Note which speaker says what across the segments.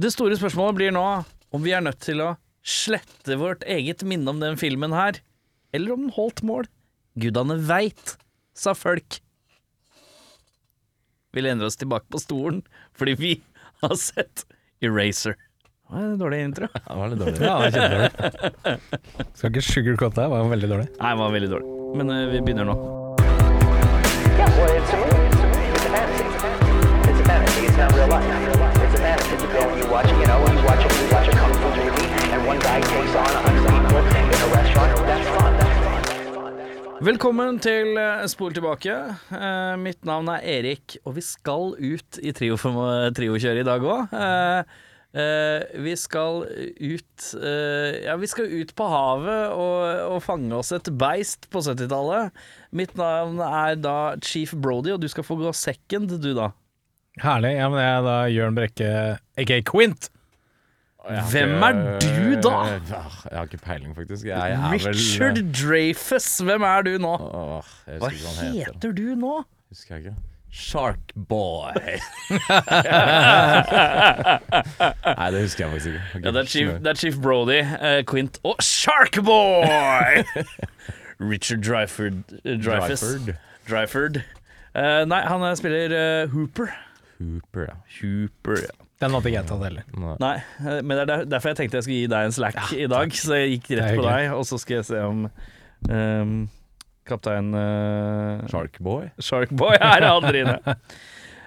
Speaker 1: Det store spørsmålet blir nå om vi er nødt til å slette vårt eget minne om den filmen her, eller om den holdt mål. Gudene veit, sa folk. Vi lener oss tilbake på stolen fordi vi har sett Eraser. Det var en dårlig intro.
Speaker 2: Ja, det var litt dårlig. Ja, det var kjempedårlig. Skal ikke sugarcoate det, det var veldig dårlig.
Speaker 1: Nei, den var veldig dårlig. Men eh, vi begynner nå.
Speaker 3: Yeah, well, it's a movie. It's a fantasy. It's a fantasy. It's not real life. It's a fantasy. It's a film you watch. You know, you watch a you watch a kung fu movie, and one guy takes on a hundred people in a restaurant. That's fun. That's fun. That's fun.
Speaker 1: Velkommen til eh, Spol tilbake. Eh, mitt navn er Erik, og vi skal ut i trio- triokjøret i dag òg. vi skal ut eh, Ja, vi skal ut på havet og, og fange oss et beist på 70-tallet. Mitt navn er da Chief Brody, og du skal få gå second, du da.
Speaker 2: Herlig. Ja, men jeg er da Jørn Brekke, aka Quint.
Speaker 1: Hvem er du da?
Speaker 4: Eh, ah, Jeg har ikke peiling, faktisk. Jeg er vel- eh,
Speaker 1: Richard Dreyfus, hvem er du nå?
Speaker 4: Åh, jeg
Speaker 1: Hva
Speaker 4: husker ikke hva han heter.
Speaker 1: heter du nå?
Speaker 4: Husker jeg ikke. Sharkboy. Nei, det husker jeg faktisk ikke. Ok,
Speaker 1: Ja, det er Chief,
Speaker 4: skjønner.
Speaker 1: det er Chief Brody, eh, Quint og Sharkboy! Richard Dryford eh, Dreyfus.
Speaker 4: Dryford.
Speaker 1: Dryford. Eh, nei, han er- spiller eh, Hooper.
Speaker 4: Hooper, ja.
Speaker 1: Hooper, ja.
Speaker 2: Den hadde ikke jeg tatt heller.
Speaker 1: Nei, eh, men det er der- derfor jeg tenkte jeg skulle gi deg en slack i dag. Så jeg gikk rett
Speaker 2: Det er
Speaker 1: på deg, og så skal jeg se om ehm, kaptein eh,
Speaker 4: Sharkboy.
Speaker 1: Sharkboy er aldri inne.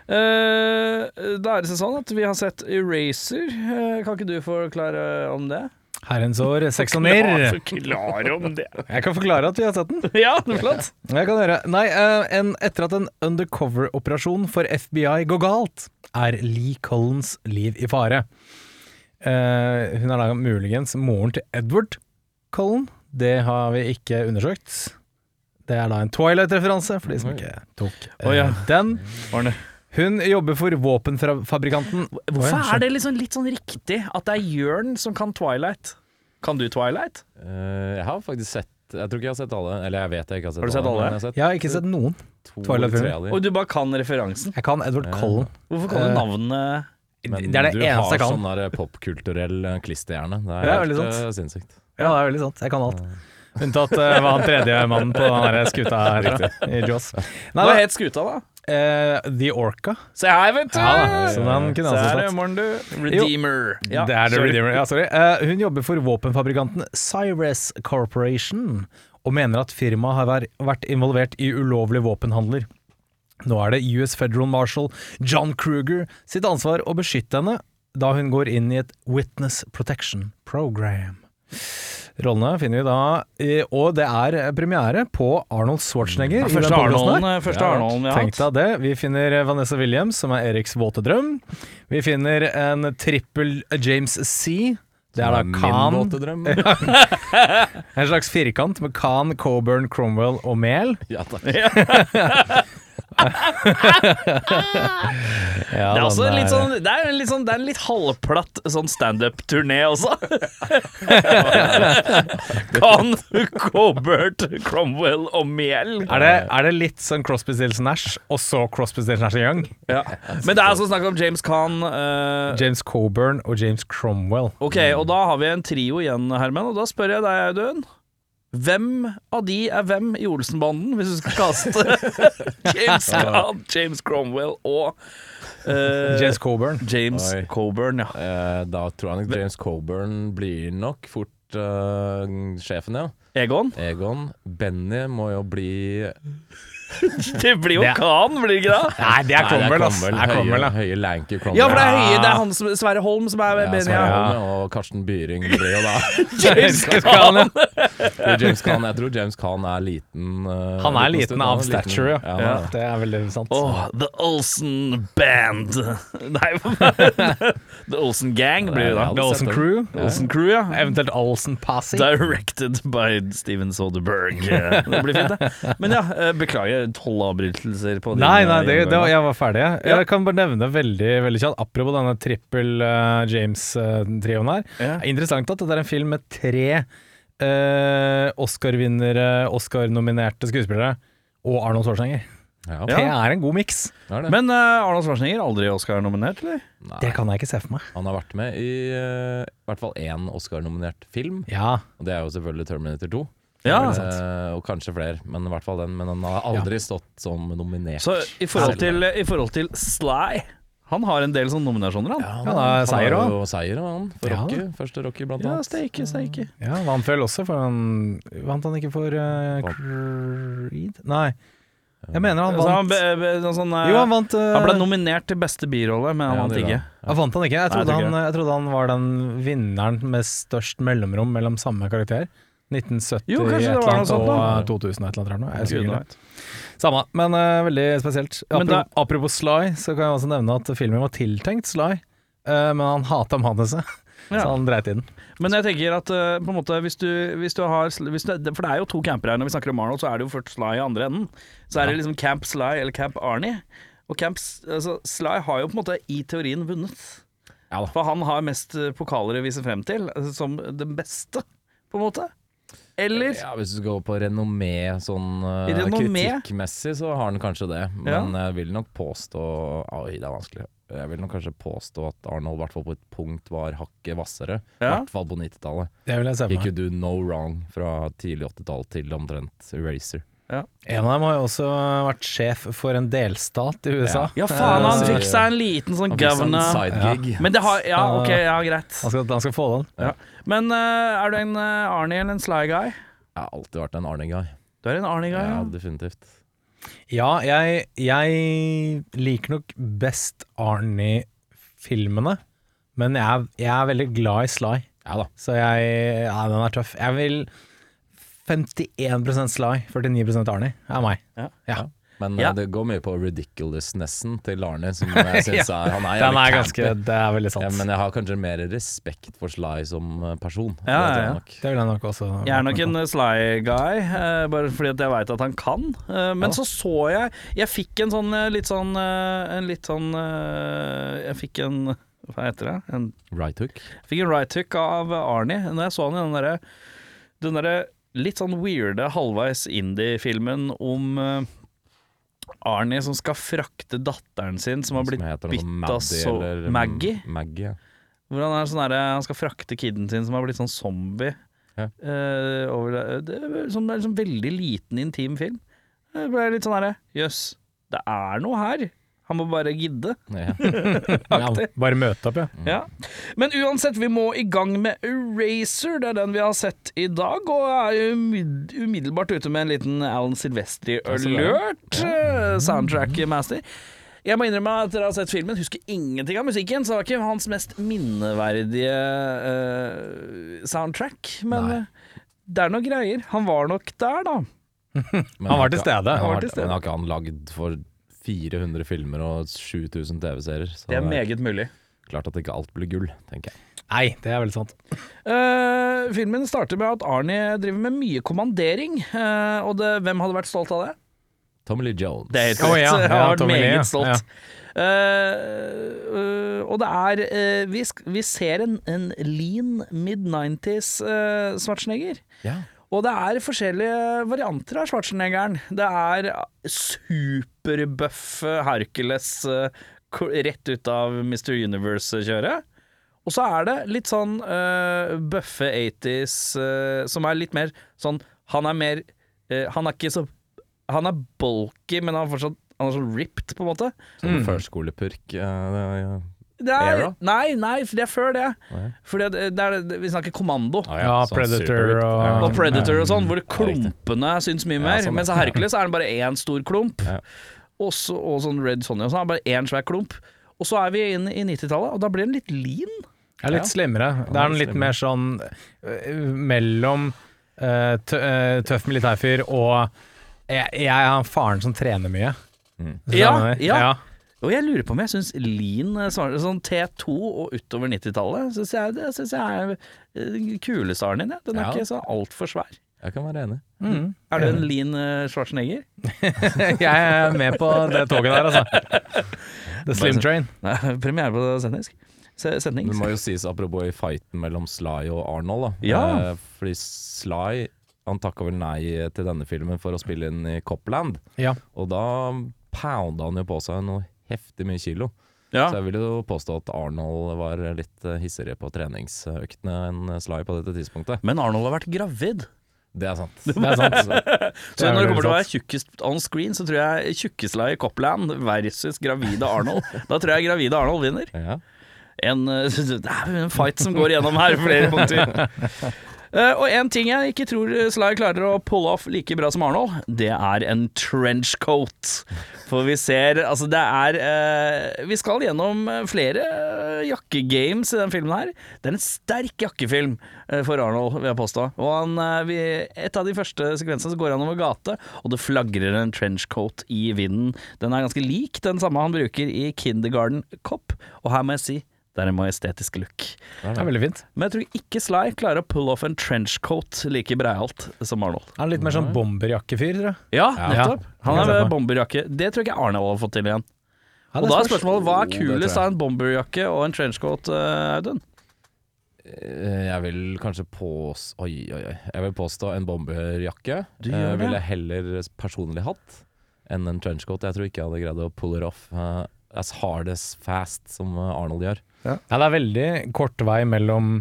Speaker 1: Eh, da er det sånn at vi har sett Eraser. Eh, kan ikke du forklare om det?
Speaker 2: Herrens år, sex og mer.
Speaker 1: Forklare om det.
Speaker 2: Jeg kan forklare at vi har sett den.
Speaker 1: Ja, det er flott.
Speaker 2: Jeg kan høre. Nei, eh, en, etter at en undercover-operasjon for FBI går galt, er Lee Collins liv i fare. Eh, hun er da muligens moren til Edward Cullen. Det har vi ikke undersøkt. Det er da en Twilight-referanse, for de som ikke tok eh,
Speaker 1: Å ja.
Speaker 2: den.
Speaker 1: Arne.
Speaker 2: Hun jobber for våpenfabrikanten
Speaker 1: Hvorfor er det liksom litt sånn riktig at det er Jørn som kan Twilight? Kan du Twilight?
Speaker 4: Eh, jeg har faktisk sett Jeg tror ikke jeg har sett alle. Eller jeg vet jeg ikke har sett
Speaker 1: Har du sett alle?
Speaker 4: men Jeg har sett
Speaker 2: Jeg har ikke sett noen.
Speaker 4: to
Speaker 2: Twilight
Speaker 4: eller tre
Speaker 2: Film?
Speaker 4: av
Speaker 1: Og
Speaker 4: dem.
Speaker 1: du bare kan referansen?
Speaker 2: Jeg kan Edward Cullen.
Speaker 1: Hvorfor kan du
Speaker 2: Eh,
Speaker 1: navnet
Speaker 4: Men
Speaker 2: Det er det
Speaker 4: du
Speaker 2: eneste
Speaker 4: har
Speaker 2: jeg kan.
Speaker 4: sånn der popkulturell eh, klisterhjerne. Det er
Speaker 2: Ja,
Speaker 4: helt
Speaker 2: veldig
Speaker 4: eh, sinnssykt.
Speaker 2: Ja, det er veldig sant. Jeg kan alt. Unntatt uh, var han tredje mannen på den der skuta her da, i Jaws. Nei,
Speaker 1: Hva
Speaker 2: det
Speaker 1: het skuta, da?
Speaker 2: het The Orca.
Speaker 1: Se her, vet du!
Speaker 2: Ja, da, så den kunne
Speaker 1: Se
Speaker 2: jeg
Speaker 1: her,
Speaker 2: også tatt.
Speaker 1: Morn, du. Redeemer. Ja,
Speaker 2: det er The
Speaker 1: sorry.
Speaker 2: Redeemer. Ja, sorry. Eh, hun jobber for våpenfabrikanten Cyrus Corporation og mener at firmaet har vær- vært involvert i ulovlige våpenhandler. Nå er det US Federal Marshal John Kruger sitt ansvar å beskytte henne da hun går inn i et Witness Protection Program. Rollene finner vi da, eh, og det er premiere på Arnold Schwarzenegger. i den
Speaker 1: Første
Speaker 2: podcasten her.
Speaker 1: Arnolden, eh, første Arnolden vi har
Speaker 2: Tenk
Speaker 1: hatt.
Speaker 2: deg det. Vi finner eh, Vanessa Williams, som er Eriks våte drøm. Vi finner en trippel eh, James C. Det er da
Speaker 4: Min
Speaker 2: Khan.
Speaker 4: våte drøm.
Speaker 2: En slags firkant med Khan, Coburn, Cromwell og Mehl.
Speaker 4: Ja, takk.
Speaker 1: Det er også litt sånn Det er en litt, sånn, det er en litt halvplatt sånn standup-turné også. Kan Cobert, Cromwell og Mel.
Speaker 2: er det, er det litt sånn Crosby Stills Nash, og så Crosby Stills Nash Young?
Speaker 1: Ja. Men det er altså snakk om James Caan. eh,
Speaker 2: James Coburn og James Cromwell.
Speaker 1: Ok, og da har vi en trio igjen, Herman, og da spør jeg deg, Audun. Hvem av de er hvem i Olsenbanden, hvis du skal kaste James Caan, James Cromwell og eh,
Speaker 2: James Coburn.
Speaker 1: James
Speaker 4: Oi.
Speaker 1: Coburn, ja.
Speaker 4: Eh, da tror jeg nok James Coburn blir nok fort eh, sjefen, ja.
Speaker 1: Egon?
Speaker 4: Egon. Benny må jo bli
Speaker 1: Det blir jo
Speaker 2: Det er-
Speaker 1: Khan, blir det ikke det?
Speaker 2: Nei, det er Cromwell, ass. Det
Speaker 4: Cromwell.
Speaker 2: er Cromwell,
Speaker 4: Høye,
Speaker 2: ja.
Speaker 4: høye lanky Cromwell.
Speaker 1: Ja, for det er, høye, det er han som, Sverre Holm som er
Speaker 4: Ja,
Speaker 1: Benny.
Speaker 4: Sverre
Speaker 1: Ja,
Speaker 4: Holm, ja, og Karsten Byring blir jo da
Speaker 1: James
Speaker 2: James
Speaker 1: Caan.
Speaker 2: Caan, ja.
Speaker 4: Og James Caan, Jeg tror James Caan er liten. eh,
Speaker 2: Han er
Speaker 4: stund,
Speaker 2: liten
Speaker 4: han
Speaker 2: av
Speaker 4: er liten.
Speaker 2: stature, ja.
Speaker 4: Ja, han er det.
Speaker 2: Det er veldig sant.
Speaker 1: Åh, The Olsen Band. Nei, hva er det? The Olsen Gang blir det
Speaker 4: Ja,
Speaker 1: da.
Speaker 2: The Olsen Crew.
Speaker 1: Olsen Crew, ja.
Speaker 2: Eventuelt Olsen Passing.
Speaker 1: Directed by Steven Soderberg. Det blir fint, det. Men ja, eh, beklager tolv avbrytelser på din,
Speaker 2: Nei,
Speaker 1: eh,
Speaker 2: nei, det, det,
Speaker 1: gjennomgang.
Speaker 2: jeg var ferdig. jeg.
Speaker 1: Ja.
Speaker 2: Jeg kan bare nevne veldig, veldig kjapt, apropos denne trippel eh, James-trioen her.
Speaker 1: Ja.
Speaker 2: Det er interessant at dette er en film med tre eh, Oscar-vinnere, Oscar-nominerte skuespillere og Arnold Schwarzenegger.
Speaker 4: Ja,
Speaker 2: Det er en god miks.
Speaker 4: det er det.
Speaker 1: Men eh, Arnold Schwarzenegger aldri Oscar-nominert, eller?
Speaker 4: Nei,
Speaker 2: Det kan jeg ikke se for meg.
Speaker 4: han har vært med i eh, i hvert fall én Oscar-nominert film,
Speaker 2: Ja,
Speaker 4: og det er jo selvfølgelig Terminator 2.
Speaker 1: Ja.
Speaker 4: Eh, og kanskje flere, men i hvert fall den. Men han har aldri stått som nominert.
Speaker 1: Så i forhold til, eh, i forhold til Sly Han har en del sånne nominasjoner, han.
Speaker 4: han,
Speaker 2: Ja, da er seier
Speaker 4: har
Speaker 2: også.
Speaker 4: jo seier også, han. For
Speaker 2: Ja.
Speaker 4: Rocky. Første Rocky, blant
Speaker 1: Ja,
Speaker 4: annet.
Speaker 1: steike, steike.
Speaker 2: ja vant vel også, for han Vant han ikke for eh, Creed? Nei. Jeg mener han
Speaker 1: Så han,
Speaker 2: vant
Speaker 1: be, be, noen sånne-
Speaker 2: Jo, han vant eh,
Speaker 1: han ble nominert til beste birolle, men han
Speaker 4: Ja,
Speaker 1: vant
Speaker 4: det gjorde
Speaker 1: ikke.
Speaker 4: han.
Speaker 2: Ja, vant han ikke?
Speaker 1: Nei,
Speaker 2: Jeg
Speaker 1: jeg
Speaker 2: trodde,
Speaker 1: tror ikke
Speaker 2: han, jeg trodde han var den vinneren med størst mellomrom mellom samme karakter.
Speaker 1: Jo,
Speaker 2: 1970
Speaker 1: kanskje
Speaker 2: et
Speaker 1: det
Speaker 2: eller
Speaker 1: var noe
Speaker 2: annet
Speaker 1: sånt da.
Speaker 2: og eh, 2000 et eller annet. her nå. Jeg husker
Speaker 1: Gud,
Speaker 2: ikke
Speaker 1: nei.
Speaker 2: helt. Samme, men eh, veldig spesielt.
Speaker 1: Men
Speaker 2: Apro
Speaker 1: da-
Speaker 2: apropos Sly, så kan jeg også nevne at filmen var tiltenkt Sly, eh, men han hata manuset, så
Speaker 1: Ja.
Speaker 2: han dreit i den.
Speaker 1: Men jeg tenker at eh, på en måte hvis du, hvis du har hvis du, For det er jo to camper her. Når vi snakker om Arnold, så er det jo først Sly i andre enden. Så er det liksom Camp Sly eller Camp Arnie. Og Camp S- altså, Sly har jo på en måte i teorien vunnet.
Speaker 4: Ja da.
Speaker 1: For han har mest eh, pokaler å vise frem til altså, som den beste, på en måte. Eller
Speaker 4: Ja, hvis du skal gå på renommé sånn eh,
Speaker 1: Renommé?
Speaker 4: kritikkmessig, så har han kanskje det.
Speaker 1: Ja.
Speaker 4: Men jeg vil nok påstå Oi, det er vanskelig. Jeg vil nok kanskje påstå at Arnold i hvert fall på et punkt var hakket hvassere. I
Speaker 1: Ja.
Speaker 4: hvert fall på 90-tallet.
Speaker 2: Det vil jeg se
Speaker 4: He
Speaker 2: for meg.
Speaker 4: could do no wrong fra tidlig 80-tall til omtrent Eraser.
Speaker 2: En av dem har jo også vært sjef for en delstat i USA.
Speaker 1: Ja, faen,
Speaker 2: Eh,
Speaker 1: han
Speaker 2: så-
Speaker 1: fikk seg en liten sånn
Speaker 4: Han fikk seg en
Speaker 1: governor.
Speaker 4: Altså. sidegig.
Speaker 1: Men det har Ja, OK, ja, greit.
Speaker 2: han skal, han skal få den.
Speaker 1: Ja. Men eh, er du en eh, Arnie eller en Sly guy?
Speaker 4: Jeg har alltid vært en Arne-guy.
Speaker 1: Du er en Arnie guy, ja.
Speaker 4: Ja, definitivt.
Speaker 2: Ja, jeg, jeg liker nok best Arnie-filmene, men jeg er, jeg er veldig glad i Sly,
Speaker 4: Ja da.
Speaker 2: så jeg, ja, den er tøff. Jeg vil 51 Sly, 49 Arnie er meg.
Speaker 1: Ja.
Speaker 2: Ja.
Speaker 4: Men
Speaker 1: Ja.
Speaker 4: eh, det går mye på ridiculousnessen til Arne, som jeg syns er Han
Speaker 2: Den
Speaker 4: er jævlig
Speaker 2: er
Speaker 4: campy.
Speaker 2: ganske Det er veldig
Speaker 4: Ja,
Speaker 2: sant.
Speaker 4: men jeg har kanskje mer respekt for Sly som eh, person.
Speaker 1: Ja,
Speaker 4: Det tror jeg
Speaker 1: ja, ja.
Speaker 4: nok.
Speaker 2: det vil jeg nok også
Speaker 1: Jeg er nok en eh, sly guy, eh, bare fordi at jeg veit at han kan. Eh, men så så jeg Jeg fikk en sånn eh, litt sånn eh, En litt sånn eh, Jeg fikk en Hva heter det? En,
Speaker 4: Right hook.
Speaker 1: jeg fikk en right hook av Arnie Når jeg så han i den derre Den derre litt sånn weirde halvveis indie-filmen om eh, Arnie som skal frakte datteren sin, som har blitt
Speaker 4: heter noe
Speaker 1: bitt
Speaker 4: Maddie
Speaker 1: av så
Speaker 4: eller, mm,
Speaker 1: Maggie.
Speaker 4: Maggie, ja.
Speaker 1: Hvor han er sånn derre Han skal frakte kiden sin som har blitt sånn zombie.
Speaker 4: Ja.
Speaker 1: eh, over det. Det er sånn, det er liksom veldig liten, intim film. Det ble litt sånn herre Jøss, det er noe her. Han må bare gidde.
Speaker 4: Ja.
Speaker 2: Ja, bare møte opp, ja.
Speaker 1: Ja. Men uansett, vi må i gang med Eraser. Det er den vi har sett i dag, og er umid- umiddelbart ute med en liten Alan Silvestri-alert. eh, Soundtrack-master. Jeg må innrømme at dere har sett filmen, husker ingenting av musikken, så det var ikke hans mest minneverdige eh, soundtrack, men
Speaker 4: Nei.
Speaker 1: eh, det er noe greier. Han var nok der, da.
Speaker 2: Han var til
Speaker 4: Men har ikke-
Speaker 2: stede.
Speaker 4: Han
Speaker 1: var
Speaker 4: har,
Speaker 1: til stede.
Speaker 4: Men har ikke han lagd for 400 filmer og 7000 TV-serier? Så
Speaker 1: Det er meget mulig.
Speaker 4: klart at ikke alt blir gull, tenker jeg.
Speaker 2: Nei, det er veldig sant.
Speaker 1: Eh, filmen starter med at Arnie driver med mye kommandering, eh, og det, hvem hadde vært stolt av det?
Speaker 4: Tommy Lee Jones.
Speaker 1: Det er helt
Speaker 2: Å,
Speaker 1: korrekt.
Speaker 2: ja,
Speaker 1: Jeg
Speaker 2: ja,
Speaker 1: har vært
Speaker 2: Tommy Lee, ja.
Speaker 1: meget stolt. Eh, eh, og det er eh, vi, sk vi ser en, en lean mid-90s uh, Schwarzenegger.
Speaker 4: ja.
Speaker 1: Og det er forskjellige varianter av Schwarzeneggeren. Det er superbuff Hercules eh, k- rett ut av Mr. Universe-kjøret. Og så er det litt sånn eh, bøffe 80s eh, som er litt mer sånn Han er mer eh, Han er ikke så Han er bulky, men han er fortsatt han er så ripped, på en måte.
Speaker 4: Sånn førskolepurk. eh, ja.
Speaker 1: Det er,
Speaker 4: Era?
Speaker 1: nei, nei, for det er før det. Fordi eh, det, det er, vi snakker kommando.
Speaker 2: Ja,
Speaker 4: sånn
Speaker 2: Predator
Speaker 4: superrikt.
Speaker 2: og-
Speaker 4: Ja.
Speaker 1: Og Predator og sånn, hvor
Speaker 4: riktig.
Speaker 1: klumpene syns mye
Speaker 4: Ja,
Speaker 1: mer.
Speaker 4: sånn, ja.
Speaker 1: Mens Hercules er den bare én stor klump.
Speaker 4: Ja.
Speaker 1: Også, og sånn Red Sonja og sånn, er bare én svær klump. Og så er vi inn i 90-tallet, og da blir den litt lean.
Speaker 2: Jeg er litt slemmere. Det er
Speaker 4: litt
Speaker 2: den litt
Speaker 4: slemmere.
Speaker 2: mer sånn øh, mellom øh, tø øh, tøff militærfyr og jeg, jeg er faren som trener mye.
Speaker 4: Mm.
Speaker 2: Hvis du
Speaker 1: Ja,
Speaker 2: skjønner.
Speaker 1: ja. Og jeg lurer på om jeg syns lean eh, svarer Sånn T2 og utover 90-tallet, syns jeg, det synes jeg er eh, den kuleste Arnien. jeg. Den er
Speaker 4: Ja.
Speaker 1: ikke så altfor svær.
Speaker 4: Jeg kan være enig.
Speaker 1: Er du en lean eh, Schwarzenegger?
Speaker 2: Jeg er med på det toget der, altså. The Slim Train.
Speaker 1: Nei, premiere på sendisk. Se- Sending.
Speaker 4: Det må jo sies apropos i fighten mellom Sly og Arnold, da.
Speaker 1: Ja.
Speaker 4: Eh, fordi Sly han takka vel nei til denne filmen for å spille inn i Copland.
Speaker 2: Ja.
Speaker 4: Og da pounda han jo på seg noe heftig mye kilo.
Speaker 1: Ja.
Speaker 4: Så jeg vil jo påstå at Arnold var litt eh, hissigere på treningsøktene enn Sly på dette tidspunktet.
Speaker 1: Men Arnold har vært gravid.
Speaker 4: Det er sant.
Speaker 2: Det er sant.
Speaker 1: Så
Speaker 2: er
Speaker 1: når det
Speaker 2: veldig
Speaker 1: kommer til å være tjukkest on screen, så tror jeg tjukkesla i Copland versus gravide Arnold. Da tror jeg gravide Arnold vinner.
Speaker 4: Ja.
Speaker 1: En, eh, det er en fight som går gjennom her, flere punkter. Eh, og en ting jeg ikke tror Sly klarer å pulle off like bra som Arnold, det er en trenchcoat. For vi ser Altså, det er eh, Vi skal gjennom flere eh, jakkegames i den filmen her. Det er en sterk jakkefilm eh, for Arnold, vil jeg påstå. Og han, eh, vi, et av de første sekvensene så går han over gate, og det flagrer en trenchcoat i vinden. Den er ganske lik den samme han bruker i Kindergarten Cop, og her må jeg si det er en majestetisk look.
Speaker 2: Det er veldig fint.
Speaker 1: Men jeg tror ikke Sly klarer å pull off en trenchcoat like breialt som Arnold.
Speaker 2: Han er litt mer sånn bomberjakkefyr, tror jeg.
Speaker 1: Ja,
Speaker 2: nettopp.
Speaker 1: Han
Speaker 2: Kan jeg
Speaker 1: er
Speaker 2: se for meg.
Speaker 1: med bomberjakke. Det tror jeg ikke Arnold har fått til igjen.
Speaker 2: Ja,
Speaker 1: Og da
Speaker 2: det
Speaker 1: er
Speaker 2: spørs.
Speaker 1: spørsmålet hva er
Speaker 4: Det tror
Speaker 1: kulest
Speaker 4: jeg.
Speaker 1: av en bomberjakke og en trenchcoat, eh, Audun?
Speaker 4: Eh, Jeg vil kanskje pås... Oi, oi, oi. Jeg vil påstå en bomberjakke.
Speaker 1: Du gjør
Speaker 4: Eh,
Speaker 1: det?
Speaker 4: ville jeg heller personlig hatt enn en trenchcoat. Jeg tror ikke jeg hadde greid å pull it off eh, as hard as fast som eh, Arnold gjør.
Speaker 2: Ja, det er veldig kort vei mellom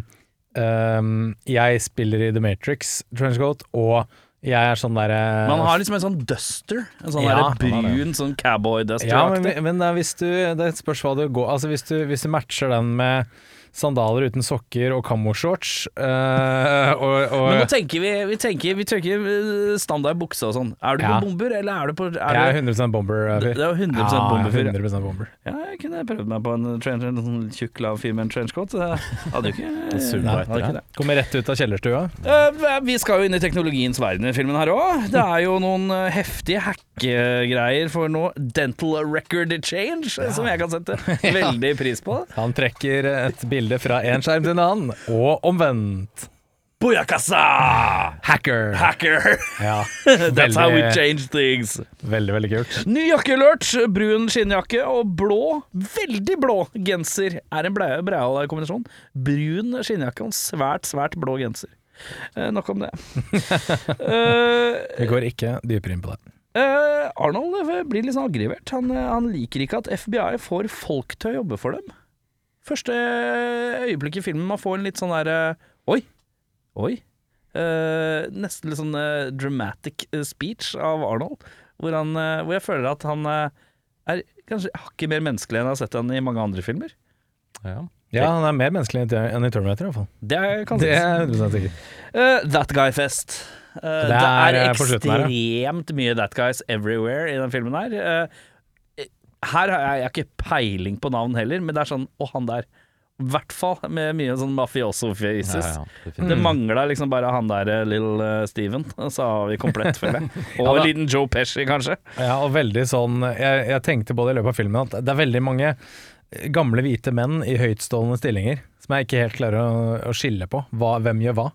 Speaker 2: ehm, jeg spiller i The Matrix, trenchcoat, og jeg er sånn derre
Speaker 1: Man har liksom en sånn duster. En sånn
Speaker 2: Ja,
Speaker 1: der brun sånn
Speaker 2: ja, men,
Speaker 1: cowboy-duster-aktig.
Speaker 2: men det er hvis du Det spørs hva du går Altså, hvis du, hvis du matcher den med sandaler uten sokker og kammoshorts eh, og, og
Speaker 1: men nå tenker vi, vi tenker, vi tenker eh, standard bukse og sånn. Er du
Speaker 2: Ja.
Speaker 1: på bomber, eller er du på er
Speaker 2: Jeg er
Speaker 1: du,
Speaker 2: 100 bomber. eh,
Speaker 1: Det
Speaker 2: fyr.
Speaker 1: det er jo 100
Speaker 2: Ja,
Speaker 1: bomberfyr. Ja.
Speaker 2: 100 bomber.
Speaker 1: jeg kunne prøvd meg på en, tren- en sånn tjukk, lav fyr med en trenchcoat. Det Hadde jo ikke,
Speaker 4: surrer
Speaker 1: Nei,
Speaker 4: etter
Speaker 1: hadde
Speaker 4: deg.
Speaker 1: ikke det.
Speaker 2: Kommer rett ut av kjellerstua.
Speaker 1: Eh, vi skal jo inn i teknologiens verden i filmen her òg. Det er jo noen eh, heftige hackegreier for noe dental record change, eh, som jeg kan sette veldig pris på.
Speaker 2: Han trekker et bilde fra én skjerm til en annen, og omvendt.
Speaker 1: Booyakasa!
Speaker 2: Hacker!
Speaker 1: Hacker!
Speaker 2: Ja,
Speaker 1: That's how we
Speaker 2: veldig,
Speaker 1: change things.
Speaker 2: veldig, veldig kult.
Speaker 1: Ny jakkealert. Brun skinnjakke og blå, veldig blå genser er en blei- breial kombinasjon. Brun skinnjakke og en svært, svært blå genser. Eh, nok om det. Eh,
Speaker 2: Vi går ikke dypere inn på det.
Speaker 1: Eh, Arnold eh, blir litt sånn aggrivert. Han, eh, han liker ikke at FBI får folk til å jobbe for dem. Første eh, øyeblikk i filmen man får en litt sånn der eh, Oi! Oi! Eh, nesten litt sånn eh, dramatic eh, speech av Arnold, hvor, han, eh, hvor jeg føler at han eh, er kanskje hakket mer menneskelig enn jeg har sett han i mange andre filmer.
Speaker 4: Ja.
Speaker 2: Ja, han er mer menneskelig enn i Terminator, iallfall.
Speaker 1: Det kan
Speaker 2: Det
Speaker 1: sies.
Speaker 2: er 100 sikkert.
Speaker 1: Eh, that Guy Fest. Eh, det
Speaker 2: er,
Speaker 1: er,
Speaker 2: eh, på slutten her, ja.
Speaker 1: ekstremt mye That Guys everywhere i den filmen her. Eh, her har jeg, jeg har ikke peiling på navn heller, men det er sånn Å, han der. I hvert fall med mye sånn mafioso-faces.
Speaker 4: Ja, ja, definitivt. Mm.
Speaker 2: Mm.
Speaker 1: Det mangla liksom bare han der eh, Little eh, Steven, og så har vi komplett, føler jeg. Og
Speaker 2: Ja, da.
Speaker 1: en liten Joe Pesci, kanskje.
Speaker 2: Ja, og veldig sånn jeg, jeg tenkte på det i løpet av filmen at det er veldig mange gamle hvite menn i høytstående stillinger som jeg ikke helt klarer å, å skille på. Hva, hvem gjør hva?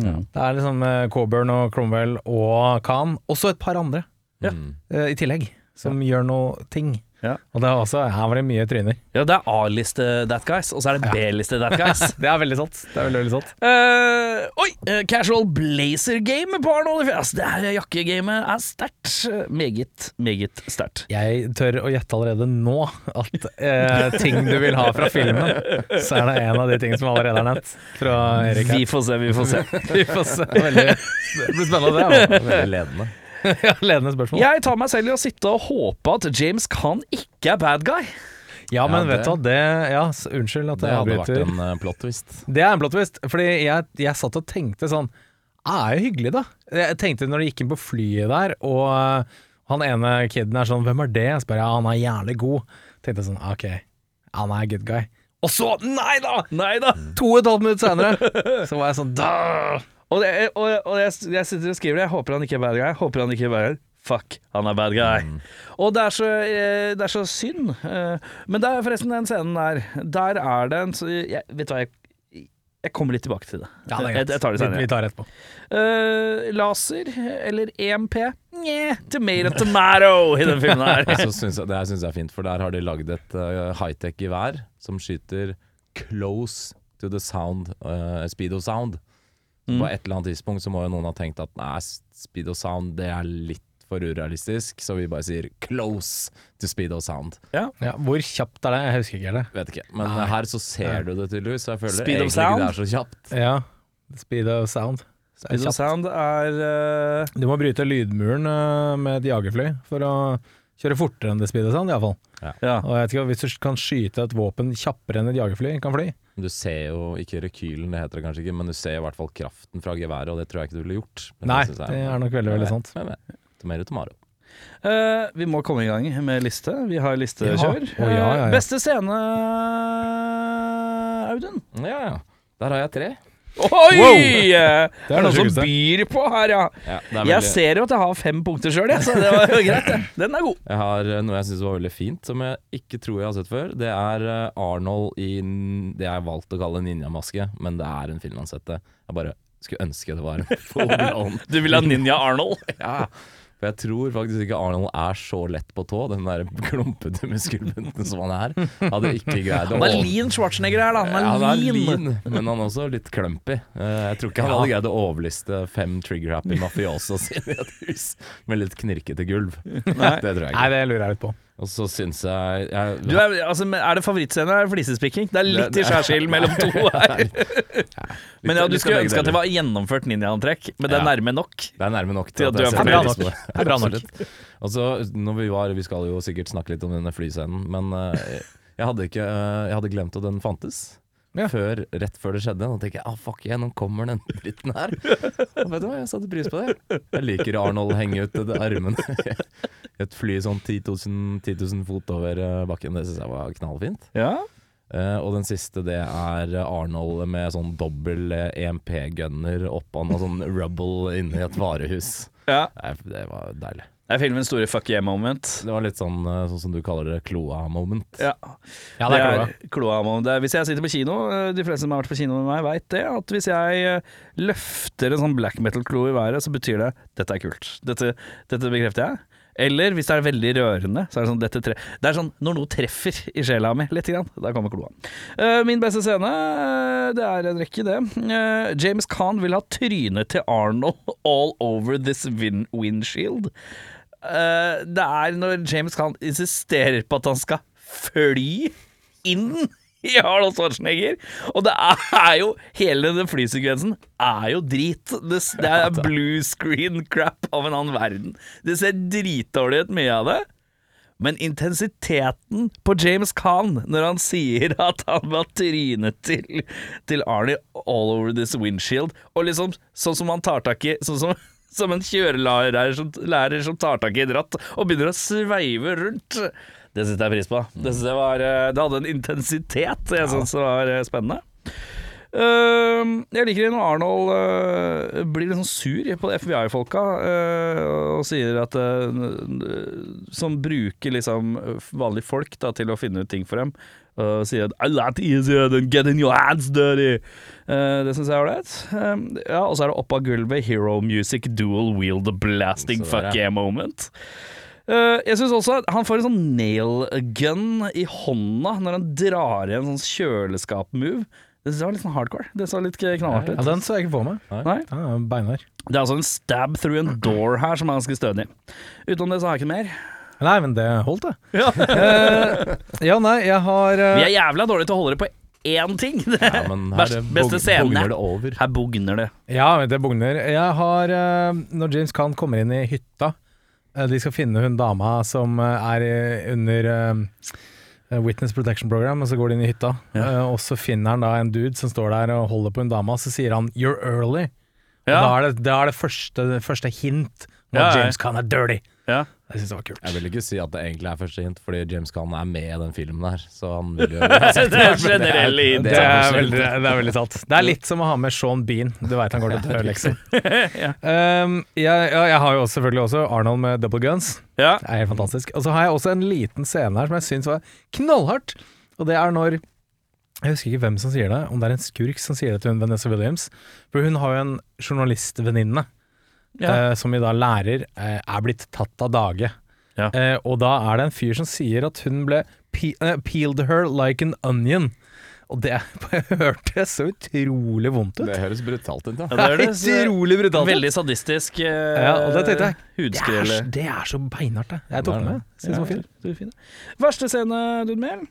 Speaker 2: Det er liksom eh, Coburn og Cromwell og Khan, og så et par andre
Speaker 1: Ja.
Speaker 4: Mm.
Speaker 2: eh, i tillegg, som gjør noe ting.
Speaker 1: Ja.
Speaker 2: Og det er også, her var det mye tryner.
Speaker 1: Ja, det er A-liste That Guys, og så er det B-liste That Guys.
Speaker 2: Det er veldig sant. Det er veldig, veldig sant.
Speaker 1: Eh, oi! eh, casual blazer-game på Arnold. Altså, det her jakkegamet er sterkt. Eh, Meget, meget sterkt.
Speaker 2: Jeg tør å gjette allerede nå at eh, ting du vil ha fra filmen, så er det en av de tingene som allerede er nevnt fra Erik her.
Speaker 1: Vi får se, vi får se.
Speaker 2: Vi får se. Veldig, det blir spennende å se.
Speaker 4: Veldig ledende.
Speaker 2: Ja, ledende spørsmål.
Speaker 1: Jeg tar meg selv i å sitte og håpe at James Khan ikke er bad guy.
Speaker 2: Ja, men
Speaker 4: Ja,
Speaker 2: vet
Speaker 4: det-
Speaker 2: du hva, det Ja, s- unnskyld at
Speaker 4: Det
Speaker 2: jeg
Speaker 4: hadde vært
Speaker 2: avbryter.
Speaker 4: en eh, plot twist.
Speaker 2: Det er en blått vest, fordi jeg, jeg satt og tenkte sånn Det er jo hyggelig, da. Jeg tenkte når de gikk inn på flyet der, og øh, han ene kiden er sånn 'Hvem er det?' Jeg spør ja, han er jævlig god. Tenkte jeg sånn OK, han er good guy. Og så, nei da!
Speaker 1: Nei da!
Speaker 2: To og et halvt minutt senere, så var jeg sånn da!
Speaker 1: Og, det, eh, og, og jeg, jeg sitter og skriver det. Jeg håper han ikke er bad guy. Jeg Håper han ikke er bad guy. Fuck, han er bad guy. Og det er så, eh, det er så synd. Eh, Men det er forresten den scenen der. Der er det en så- jeg, Vet du hva, jeg, jeg kommer litt tilbake til det. jeg, jeg tar det senere.
Speaker 2: Vi, vi tar det etterpå.
Speaker 1: Eh, laser eller EMP? Nje, tomato tomato i den filmen her.
Speaker 4: Så synes jeg, det her syns jeg er fint, for der har de lagd et eh, high-tech gevær som skyter close to the sound, eh, speed of sound.
Speaker 1: Mm.
Speaker 4: På et eller annet tidspunkt så må jo noen ha tenkt at nei, speed og sound det er litt for urealistisk, så vi bare sier close to speed og sound.
Speaker 2: Ja, hvor kjapt er det? Jeg husker ikke helt.
Speaker 4: Vet ikke. Men her så ser du det tydeligvis, så jeg føler
Speaker 1: Speed of
Speaker 4: egentlig ikke det er så kjapt.
Speaker 2: det. Ja. Speed of sound. Det er
Speaker 1: Speed of
Speaker 2: kjapt.
Speaker 1: sound er eh,
Speaker 2: Du må bryte lydmuren eh, med et jagerfly for å kjøre fortere enn det speed of sound, iallfall.
Speaker 1: Ja.
Speaker 2: Og jeg vet ikke, hvis du kan skyte et våpen kjappere enn et jagerfly kan fly
Speaker 4: Du ser jo ikke rekylen, det heter det kanskje ikke, men du ser i hvert fall kraften fra geværet, og det tror jeg ikke du ville gjort. Men
Speaker 2: Nei,
Speaker 4: synes
Speaker 2: det
Speaker 4: jeg-
Speaker 2: er nok veldig, veldig sant.
Speaker 4: Men, men, Tomato, tomato.
Speaker 1: Eh, vi må komme i gang med liste. Vi har listekjør.
Speaker 2: Ja. Å, ja, ja, ja.
Speaker 1: Eh, beste scene, Audun?
Speaker 4: Ja, ja. Der har jeg tre.
Speaker 1: Oi! Det
Speaker 2: er
Speaker 1: er
Speaker 2: det
Speaker 1: noen som
Speaker 2: sjukeste.
Speaker 1: byr på her, ja.
Speaker 4: Ja, det er
Speaker 1: Jeg
Speaker 4: veldig-
Speaker 1: ser jo at jeg har fem punkter sjøl, så det var jo greit. det. Den er god.
Speaker 4: Jeg har eh, noe jeg syns var veldig fint, som jeg ikke tror jeg har sett før. Det er eh, Arnold i n- det jeg valgte å kalle ninjamaske, men det er en finlandshette. Jeg bare skulle ønske det var en full on.
Speaker 1: Du vil ha Ninja Arnold?
Speaker 4: Ja. For jeg tror faktisk ikke Arnold er så lett på tå, den der klumpete muskelbunten som han er. Hadde ikke greid å
Speaker 1: Han er lean Schwarzenegger her, da. Han er,
Speaker 4: Ja, han er
Speaker 1: lean.
Speaker 4: lean, men han er også litt klumpy. Eh, Jeg tror ikke han hadde greid å overliste fem trigger-happy mafiosos i et hus med litt knirkete gulv. Det tror jeg
Speaker 2: Nei,
Speaker 4: ikke.
Speaker 2: det lurer jeg litt på.
Speaker 4: Og så syns jeg, jeg
Speaker 1: Du er, altså, men er det favorittscene? Er det flisespikking? Det er litt i
Speaker 4: Det-
Speaker 1: skjærsilden mellom to her. Men ja, du
Speaker 4: litt av
Speaker 1: skulle
Speaker 4: begge
Speaker 1: ønske at det
Speaker 4: deler.
Speaker 1: var gjennomført ninjaantrekk, men det er
Speaker 4: Ja.
Speaker 1: nærme nok.
Speaker 4: Det er nærme nok
Speaker 1: Til at du er
Speaker 4: jeg setter
Speaker 1: fornøyd.
Speaker 4: pris på det.
Speaker 2: Det er bra nok.
Speaker 4: Absolutt. Og så, når vi var Vi skal jo sikkert snakke litt om denne flyscenen, men eh, jeg hadde ikke eh, Jeg hadde glemt at den fantes.
Speaker 2: Ja.
Speaker 4: Før, rett før det skjedde. Da tenkte jeg ah, fuck yeah, nå kommer den dritten her. Og vet du hva, jeg satte pris på det. Jeg liker Arnold henge ut det- armene i et fly sånn 10 000, 10 000 fot over eh, bakken. Det syns jeg var knallfint.
Speaker 1: Ja.
Speaker 4: Eh, og den siste det er Arnold med sånn dobbel eh, EMP-gunner oppå noe sånn rubble inni et varehus.
Speaker 1: ja.
Speaker 4: Nei, det var deilig.
Speaker 1: Det er filmens store fuck yeah-moment.
Speaker 4: Det var litt sånn, eh, sånn som du kaller det, kloa-moment.
Speaker 1: Ja.
Speaker 2: Ja,
Speaker 1: det
Speaker 2: det er
Speaker 1: er kloa. Det er- Hvis jeg sitter på kino, eh, de fleste som har vært på kino med meg, veit det, at hvis jeg eh, løfter en sånn black metal-klo i været, så betyr det 'dette er kult'. Dette, dette bekrefter jeg. Eller hvis det er veldig rørende, så er det sånn dette tre Det er sånn når noe treffer i sjela mi, lite grann. Da kommer kloa. Eh, min beste scene, eh, det er en rekke, det. Eh, James Khan vil ha trynet til Arnold all over this win windshield. Eh, det er når James Caan insisterer på at han skal fly inn i Arnold Schwarzenegger. Og det er jo Hele den flysekvensen er jo drit. Det, s- det er blue screen crap av en annen verden. Det ser dritdårlig ut, mye av det. Men intensiteten på James Caan når han sier at han var trynet til, til Arnie all over this windshield, og liksom sånn som han tar tak i Sånn som, som en kjørelærer som, lærer som tar tak i et ratt og begynner å sveive rundt. Det setter jeg pris på. Det, synes jeg var, eh, det hadde en intensitet jeg syns var eh, spennende. Ehm, jeg liker det når Arnold eh, blir litt sånn sur på FBI-folka eh, og sier at eh, n- n- Som bruker liksom vanlige folk da, til å finne ut ting for dem. Og sier at 'A lot easier than getting your hands dirty'. Eh, det syns jeg er ålreit. Ehm, ja, og så er det opp av gulvet hero music dual wield blasting
Speaker 4: Så der,
Speaker 1: fuck
Speaker 4: ja.
Speaker 1: yeah moment. Eh, jeg syns også at han får en sånn nail gun i hånda når han drar i en sånn kjøleskap-move. Det synes jeg var litt sånn hardcore. Det så litt knallhardt
Speaker 2: Ja,
Speaker 1: ut.
Speaker 2: den så jeg ikke for meg.
Speaker 4: Nei.
Speaker 1: Nei.
Speaker 2: Ja, Beinar.
Speaker 1: Det er altså en stab through a door her som er ganske stødig. Utenom det så har jeg ikke mer.
Speaker 2: Nei, men det holdt, det. Eh,
Speaker 1: Ja.
Speaker 2: Ja, nei, jeg har eh,
Speaker 1: Vi er jævla dårlige til å holde det på én ting.
Speaker 4: Ja, men her eh,
Speaker 1: Vers-
Speaker 4: det
Speaker 1: beste
Speaker 4: bog-
Speaker 1: scenen.
Speaker 4: bogner det over.
Speaker 1: Her bugner det.
Speaker 2: Ja, det bugner. Jeg har eh, Når James Caan kommer inn i hytta eh, De skal finne hun dama som eh, er i- under eh, Witness Protection Program, og så går de inn i hytta. Eh, og så finner han da en dude som står der og holder på hun dama, så sier han 'you're early'. Og Da
Speaker 1: Ja.
Speaker 2: er det, da er det første, det første hint om
Speaker 1: Ja,
Speaker 2: at
Speaker 1: ja.
Speaker 2: James Caan er dirty.
Speaker 1: ja.
Speaker 2: Jeg syns det var kult.
Speaker 4: Jeg vil ikke si at det egentlig er første hint, fordi James Caan er med i den filmen der. Så han vil jo altså,
Speaker 1: Det er generell
Speaker 4: det er-
Speaker 1: idé.
Speaker 2: Det er,
Speaker 4: kanskje
Speaker 2: veldig, det er veldig sant. Det er litt som å ha med Sean Bean. Du veit han går til å dø, liksom. um, jeg, ja, jeg har jo også, selvfølgelig også Arnold med double guns.
Speaker 1: Ja.
Speaker 2: Det er helt fantastisk. Og så har jeg også en liten scene her som jeg syns var knallhardt. Og det er når Jeg husker ikke hvem som sier det, om det er en skurk som sier det til hun Vanessa Williams. For hun har jo en journalistvenninne
Speaker 1: Ja.
Speaker 2: eh, som vi da lærer eh, er blitt tatt av dage.
Speaker 1: Ja.
Speaker 2: Eh, og da er det en fyr som sier at hun ble pe eh, peeled her like an onion. Og det hørtes så utrolig vondt ut.
Speaker 4: Det høres brutalt ut, da.
Speaker 1: Ja, det er det.
Speaker 2: utrolig brutalt.
Speaker 1: Veldig sadistisk eh,
Speaker 2: Ja, og det tenkte jeg. Det er,
Speaker 1: hudskrelle.
Speaker 2: så- det er så beinhardt, det. Jeg tok
Speaker 4: Det er
Speaker 2: det med.
Speaker 4: det.
Speaker 2: Synes det var fint.
Speaker 1: du er fin. Verste scene, Dunmel?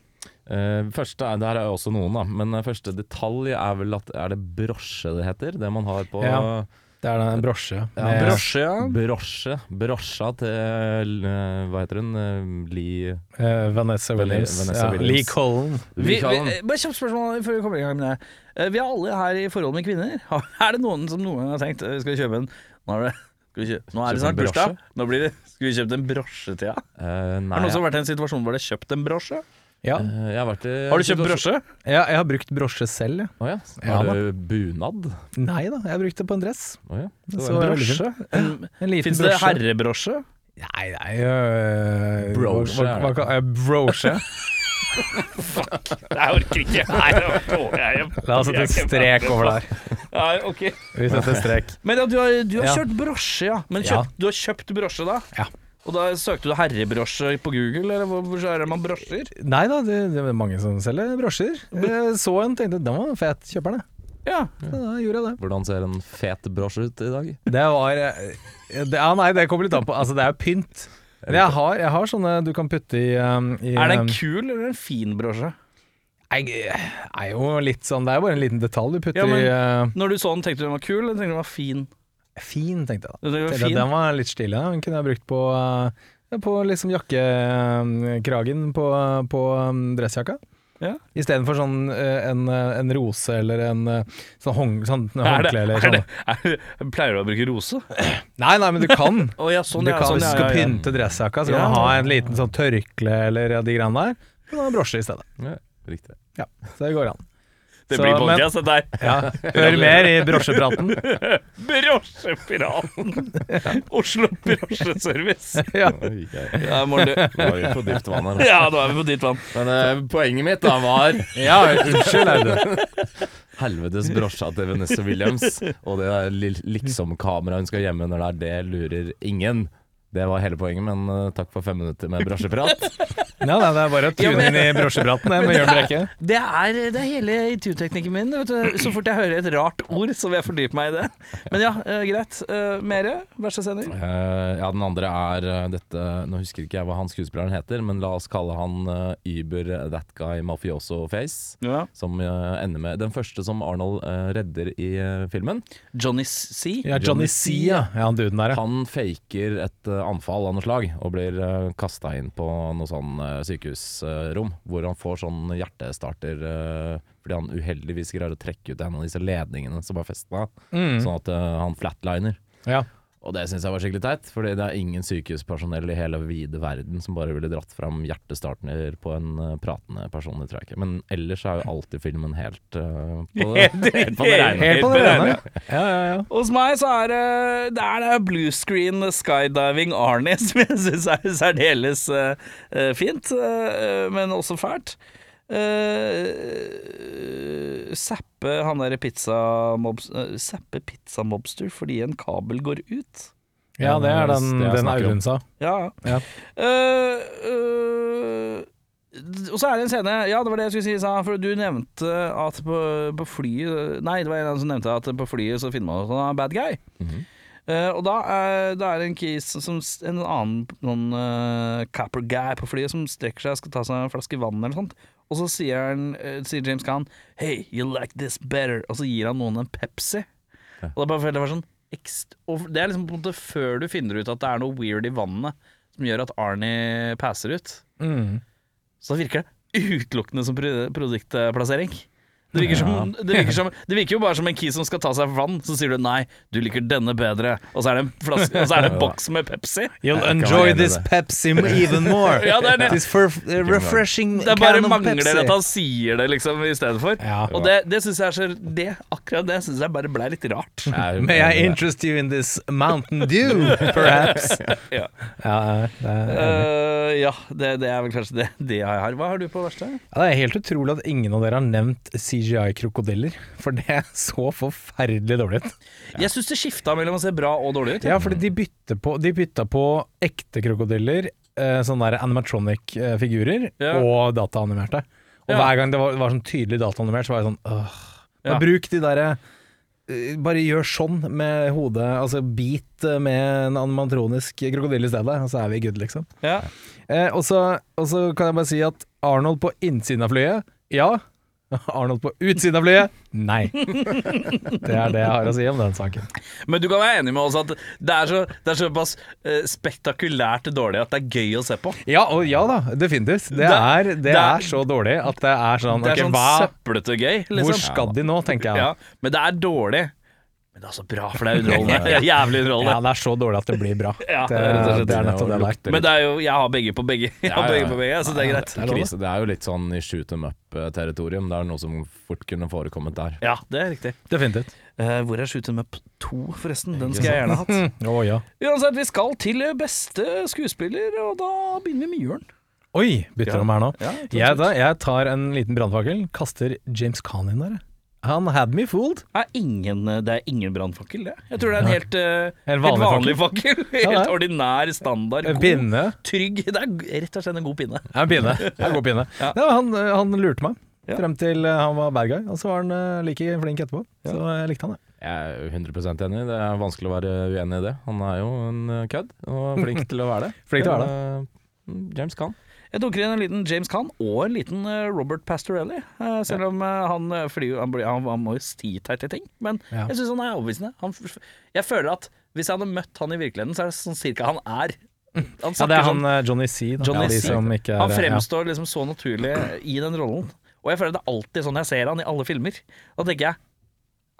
Speaker 4: Eh, første er, Der er jo også noen, da. Men eh, første detalj er vel at Er det brosje det heter? Det man har på
Speaker 2: Ja. Det er da en brosje. med-
Speaker 1: Brosje, ja.
Speaker 4: Brosje. Brosja til eh, Hva heter hun? Eh, Li
Speaker 2: eh, Vanessa Williams.
Speaker 4: Vanessa
Speaker 2: ja.
Speaker 4: Williams.
Speaker 2: Lee Collen.
Speaker 1: Vi,
Speaker 4: Vi
Speaker 1: vi,
Speaker 4: kan-
Speaker 1: eh, bare kjapt spørsmål før vi kommer i gang med det. Eh, Vi er alle her i forhold med kvinner. Har- Er det noen som noen gang har tenkt eh, Skal vi kjøpe en Nå er det, skal vi kjøpe, nå er det
Speaker 4: Kjøpe en
Speaker 1: snart bursdag.
Speaker 4: brosje?
Speaker 1: Nå blir det Skulle vi kjøpt en brosje til deg?
Speaker 4: Eh, nei,
Speaker 1: Har det noen som har vært i en situasjon hvor det er kjøpt en brosje?
Speaker 2: Ja.
Speaker 4: eh, jeg har vært i
Speaker 1: Har du kjøpt brosje?
Speaker 2: ja, jeg har brukt brosje selv. jeg.
Speaker 4: Å ja.
Speaker 2: Ja,
Speaker 4: Har du bunad?
Speaker 2: Nei da, jeg brukte det på en dress.
Speaker 4: Å ja.
Speaker 2: Så
Speaker 4: var
Speaker 2: det var veldig fint. En liten
Speaker 1: Fins det herrebrosje?
Speaker 2: Nei, nei øh,
Speaker 4: Brosje,
Speaker 2: hva- hva- hva- eh, Brosje.
Speaker 1: Jeg orker ikke. Nei, det tåler jeg hjem.
Speaker 2: La oss sette en strek over der.
Speaker 1: Nei, ok.
Speaker 2: Vi setter strek.
Speaker 1: Men ja, du har, du har
Speaker 2: Ja.
Speaker 1: kjørt brosje, ja. Men
Speaker 2: Ja.
Speaker 1: kjøpt, du har kjøpt brosje, da?
Speaker 2: Ja.
Speaker 1: Og da søkte du herrebrosje på Google, eller hvor hvor er det man brosjer?
Speaker 2: Nei da, det, det er mange som selger brosjer. Jeg så en tenkte den var fet, kjøper den. jeg.
Speaker 1: Ja.
Speaker 2: Så Da gjorde jeg det.
Speaker 4: Hvordan ser en fet brosje ut i dag?
Speaker 2: Det var eh, det, Ja, nei, det kommer litt an på. Altså, det er jo pynt. Men jeg har, jeg har sånne du kan putte i, um, i
Speaker 1: Er det
Speaker 2: um,
Speaker 1: en kul eller en fin brosje?
Speaker 2: Nei, det er jo litt sånn Det er jo bare en liten detalj du putter
Speaker 1: Ja, men-
Speaker 2: i eh,
Speaker 1: Når du så den, tenkte du den var kul, eller tenkte du den var fin?
Speaker 2: Fin, tenkte jeg da.
Speaker 1: Du tenkte
Speaker 2: Tenkte
Speaker 1: den
Speaker 2: at
Speaker 1: var
Speaker 2: Den var litt stilig. da. Den kunne jeg brukt på, eh, på liksom jakkekragen på, på um, dressjakka.
Speaker 1: Ja.
Speaker 2: Istedenfor sånn eh, en, eh, en rose eller en eh, sånn, hånd, sånn
Speaker 1: Er det,
Speaker 2: håndkle eller
Speaker 1: er
Speaker 2: sånn.
Speaker 1: det, er, pleier du å bruke rose?
Speaker 2: Nei, nei, men du kan.
Speaker 1: Å ja, sånn
Speaker 2: du
Speaker 1: ja,
Speaker 2: kan
Speaker 1: sånn
Speaker 2: hvis du
Speaker 1: ja,
Speaker 2: skal
Speaker 1: ja, ja.
Speaker 2: pynte dressjakka, så kan
Speaker 1: Ja.
Speaker 2: du ha en liten sånn tørkle eller ja, de greiene der. Men da har du brosje i stedet.
Speaker 4: Ja, riktig.
Speaker 2: Ja, så det går an.
Speaker 1: Det
Speaker 2: Så,
Speaker 1: blir
Speaker 2: men-
Speaker 1: podcast, dette her.
Speaker 2: Ja, hør mer i brosjepraten.
Speaker 1: Brosjepiraten! Oslo Brosjeservice.
Speaker 2: Ja.
Speaker 4: Oi, oi.
Speaker 1: Ja, Morten, du-
Speaker 4: Nå er vi på dypt vann her.
Speaker 1: ja, nå er vi på ditt vann.
Speaker 4: Men eh, poenget mitt da var
Speaker 2: ja, unnskyld, Audun.
Speaker 4: helvetes brosja til Vanessa Williams, og det der li- liksom-kameraet hun skal gjemme under der, det lurer ingen. Det var hele poenget, men eh, takk for fem minutter med brosjeprat.
Speaker 2: Ja, nei, det er bare å tune inn i brosjepraten det, med Jørn Brekke.
Speaker 1: Det er, det er hele intervjuteknikken min. Vet du. Så fort jeg hører et rart ord, så vil jeg fordype meg i det. Men ja, eh, greit. Uh, Mere, vær så snill.
Speaker 4: Eh, ja, den andre er eh, dette Nå husker ikke jeg hva han skuespilleren heter, men la oss kalle han eh, Uber That Guy Mafioso Face.
Speaker 1: Ja.
Speaker 4: Som eh, ender med Den første som Arnold eh, redder i eh, filmen.
Speaker 1: Johnny C.
Speaker 2: Ja, Johnny C, ja. ja han duden der, ja.
Speaker 4: Han faker et eh, anfall av noe slag og blir uh, kasta inn på noe sånn eh, sykehusrom, hvor han får sånn hjertestarter eh, fordi han uheldigvis greier å trekke ut en av disse ledningene som er festa, sånn at eh, han flatliner.
Speaker 2: ja.
Speaker 4: Og det syns jeg var skikkelig teit, fordi det er ingen sykehuspersonell i hele vide verden som bare ville dratt fram hjertestarter på en eh, pratende person, det tror jeg ikke. Men ellers er jo alltid filmen helt eh, på det. Helt på det rene.
Speaker 2: Helt på det rene. Ja, ja, ja.
Speaker 1: Hos meg så er det Det er det blue screen skydiving Arnie som jeg syns er særdeles eh, eh, fint, eh, men også fælt. Eh, Zappe han derre pizzamobs... eh, Zappe pizzamobster fordi en kabel går ut.
Speaker 2: ja, det er den,
Speaker 4: Det jeg
Speaker 2: den
Speaker 4: snakker om.
Speaker 2: Audun sa.
Speaker 1: Ja.
Speaker 2: Ja.
Speaker 1: Eh, eh, og så er det en scene Ja, det var det jeg skulle si i stad, for du nevnte at på, på flyet Nei, det var en av dem som nevnte at på flyet så finner man ut at han er bad guy. Eh, og da er, da er det en kis som En annen noen, eh, capper guy på flyet som strekker seg og skal ta seg en flaske vann eller noe sånt. Og så sier, han, eh, sier James Caan 'Hey, you like this better?' Og så gir han noen en Pepsi. Og det er bare for det var sånn ekst- og Det er liksom på en måte før du finner ut at det er noe weird i vannet som gjør at Arnie passer ut.
Speaker 2: Mm.
Speaker 1: Så da virker det utelukkende som pro- produktplassering. Det virker, som, det, virker som, det virker jo bare som en kis som skal ta seg vann, så sier du nei, du liker denne bedre, og så er det en, flaske, og så er det en boks med Pepsi.
Speaker 2: You'll
Speaker 4: kan være
Speaker 2: enjoy
Speaker 4: enig i
Speaker 2: this
Speaker 4: det.
Speaker 2: Pepsi even more.
Speaker 1: Ja, det er det.
Speaker 2: This for, uh, refreshing
Speaker 1: Det er bare
Speaker 2: can of
Speaker 1: mangler altså.
Speaker 2: Pepsi.
Speaker 1: at han sier det, liksom, i stedet for.
Speaker 2: Ja.
Speaker 1: Og det, det syns jeg er så Det, akkurat det syns jeg bare ble litt rart.
Speaker 4: Jeg er
Speaker 2: May I
Speaker 4: uenig i det.
Speaker 2: interest you in this Mountain Dew, perhaps?
Speaker 1: Ja,
Speaker 2: ja, det er,
Speaker 1: Eh, ja det, det er vel kanskje det, det jeg har. Hva har du på verste?
Speaker 2: Ja, det er helt utrolig at ingen av dere har nevnt CGI-krokodiller, for det så forferdelig dårlig ut.
Speaker 1: Jeg syns det skifta mellom å se bra og dårlig ut.
Speaker 2: Ja, fordi de, bytter på, de bytta på ekte krokodiller, eh, sånne der animatronic-figurer,
Speaker 1: Ja.
Speaker 2: og dataanimerte. Og Og
Speaker 1: Ja.
Speaker 2: hver gang det var, var sånn tydelig dataanimert, så var jeg sånn Åh.
Speaker 1: Ja.
Speaker 2: Men Bruk de derre eh, bare gjør sånn med hodet, altså bit eh, med en animatronisk krokodille i stedet, og så er vi good, liksom.
Speaker 1: Ja.
Speaker 2: Eh, og, så, og så kan jeg bare si at Arnold på innsiden av flyet, ja. Arnold på utsiden av flyet, nei. Det er det jeg har å si om den saken.
Speaker 1: Men du kan være enig med oss at det er, så, det er såpass eh, spektakulært dårlig at det er gøy å se på.
Speaker 2: Ja, og ja da, definitivt. Det, er, det,
Speaker 1: det er-
Speaker 2: er, så dårlig at det er sånn,
Speaker 1: Det er
Speaker 2: ok,
Speaker 1: sånn
Speaker 2: hva,
Speaker 1: søplete gøy, liksom.
Speaker 2: hvor skal de nå, tenker jeg.
Speaker 1: ja. Men det er dårlig. Men det er så bra, for det er underholdende. Det er Jævlig
Speaker 2: Ja,
Speaker 1: underholdende.
Speaker 2: det er så dårlig at det blir bra.
Speaker 1: Ja,
Speaker 2: det,
Speaker 1: rett og
Speaker 4: slett.
Speaker 2: det er nettopp det der.
Speaker 1: Men det er jo, jeg har begge på begge, jeg har
Speaker 4: Ja, ja, ja.
Speaker 1: begge, på begge så det er greit.
Speaker 4: Det er, krise. det er jo litt sånn i shoot them up-territorium. Det er noe som fort kunne forekommet der.
Speaker 1: Ja, det er riktig.
Speaker 2: Definitivt.
Speaker 1: Eh, hvor er Shooter Map 2, forresten? Den skal jeg gjerne ha hatt.
Speaker 2: Mm. Å ja.
Speaker 1: Uansett, vi skal til beste skuespiller, og da begynner vi med Jørn.
Speaker 2: Oi, bytter om her nå.
Speaker 1: Ja, jeg tror
Speaker 2: jeg, da, jeg tar en liten brannfakkel, kaster James Caan inn der. jeg. Han had me fooled.
Speaker 1: Er ingen, eh, det er ingen brannfakkel, det. Jeg tror det er en helt, eh,
Speaker 2: Helt
Speaker 1: helt
Speaker 2: vanlig
Speaker 1: vanlig fakkel.
Speaker 2: er.
Speaker 1: Helt ordinær, standard,
Speaker 2: En
Speaker 1: god,
Speaker 2: pinne.
Speaker 1: trygg. Det er rett og slett en god pinne.
Speaker 2: Ja, en pinne. Det er En god pinne.
Speaker 1: Ja.
Speaker 2: Nei, han, eh, han lurte meg
Speaker 1: Ja.
Speaker 2: frem til eh, han var bad guy, og så var han eh, like flink etterpå. Så jeg likte han, jeg.
Speaker 4: Jeg er 100 enig. Det er vanskelig å være uenig i det. Han er jo en eh, kødd, og flink til å være det.
Speaker 2: Flink til å være
Speaker 4: det. James Caan.
Speaker 1: Jeg dunker inn en liten James Caan og en liten eh, Robert Pastorelli. eh, selv om eh, han, eh, flyr- han, blir- han, han må jo si teite ting. Men
Speaker 2: Ja.
Speaker 1: jeg syns han er overbevisende. Han, f- jeg føler at hvis jeg hadde møtt han i virkeligheten, så er det sånn cirka han er. Han
Speaker 2: Ja, det
Speaker 1: snakker
Speaker 2: er
Speaker 1: sånn
Speaker 2: han eh, Johnny C. Da.
Speaker 1: Johnny
Speaker 2: ja, de
Speaker 1: C.
Speaker 2: som ikke er,
Speaker 1: Han fremstår liksom så naturlig i den rollen. Og jeg føler det er alltid sånn jeg ser han i alle filmer. Da tenker jeg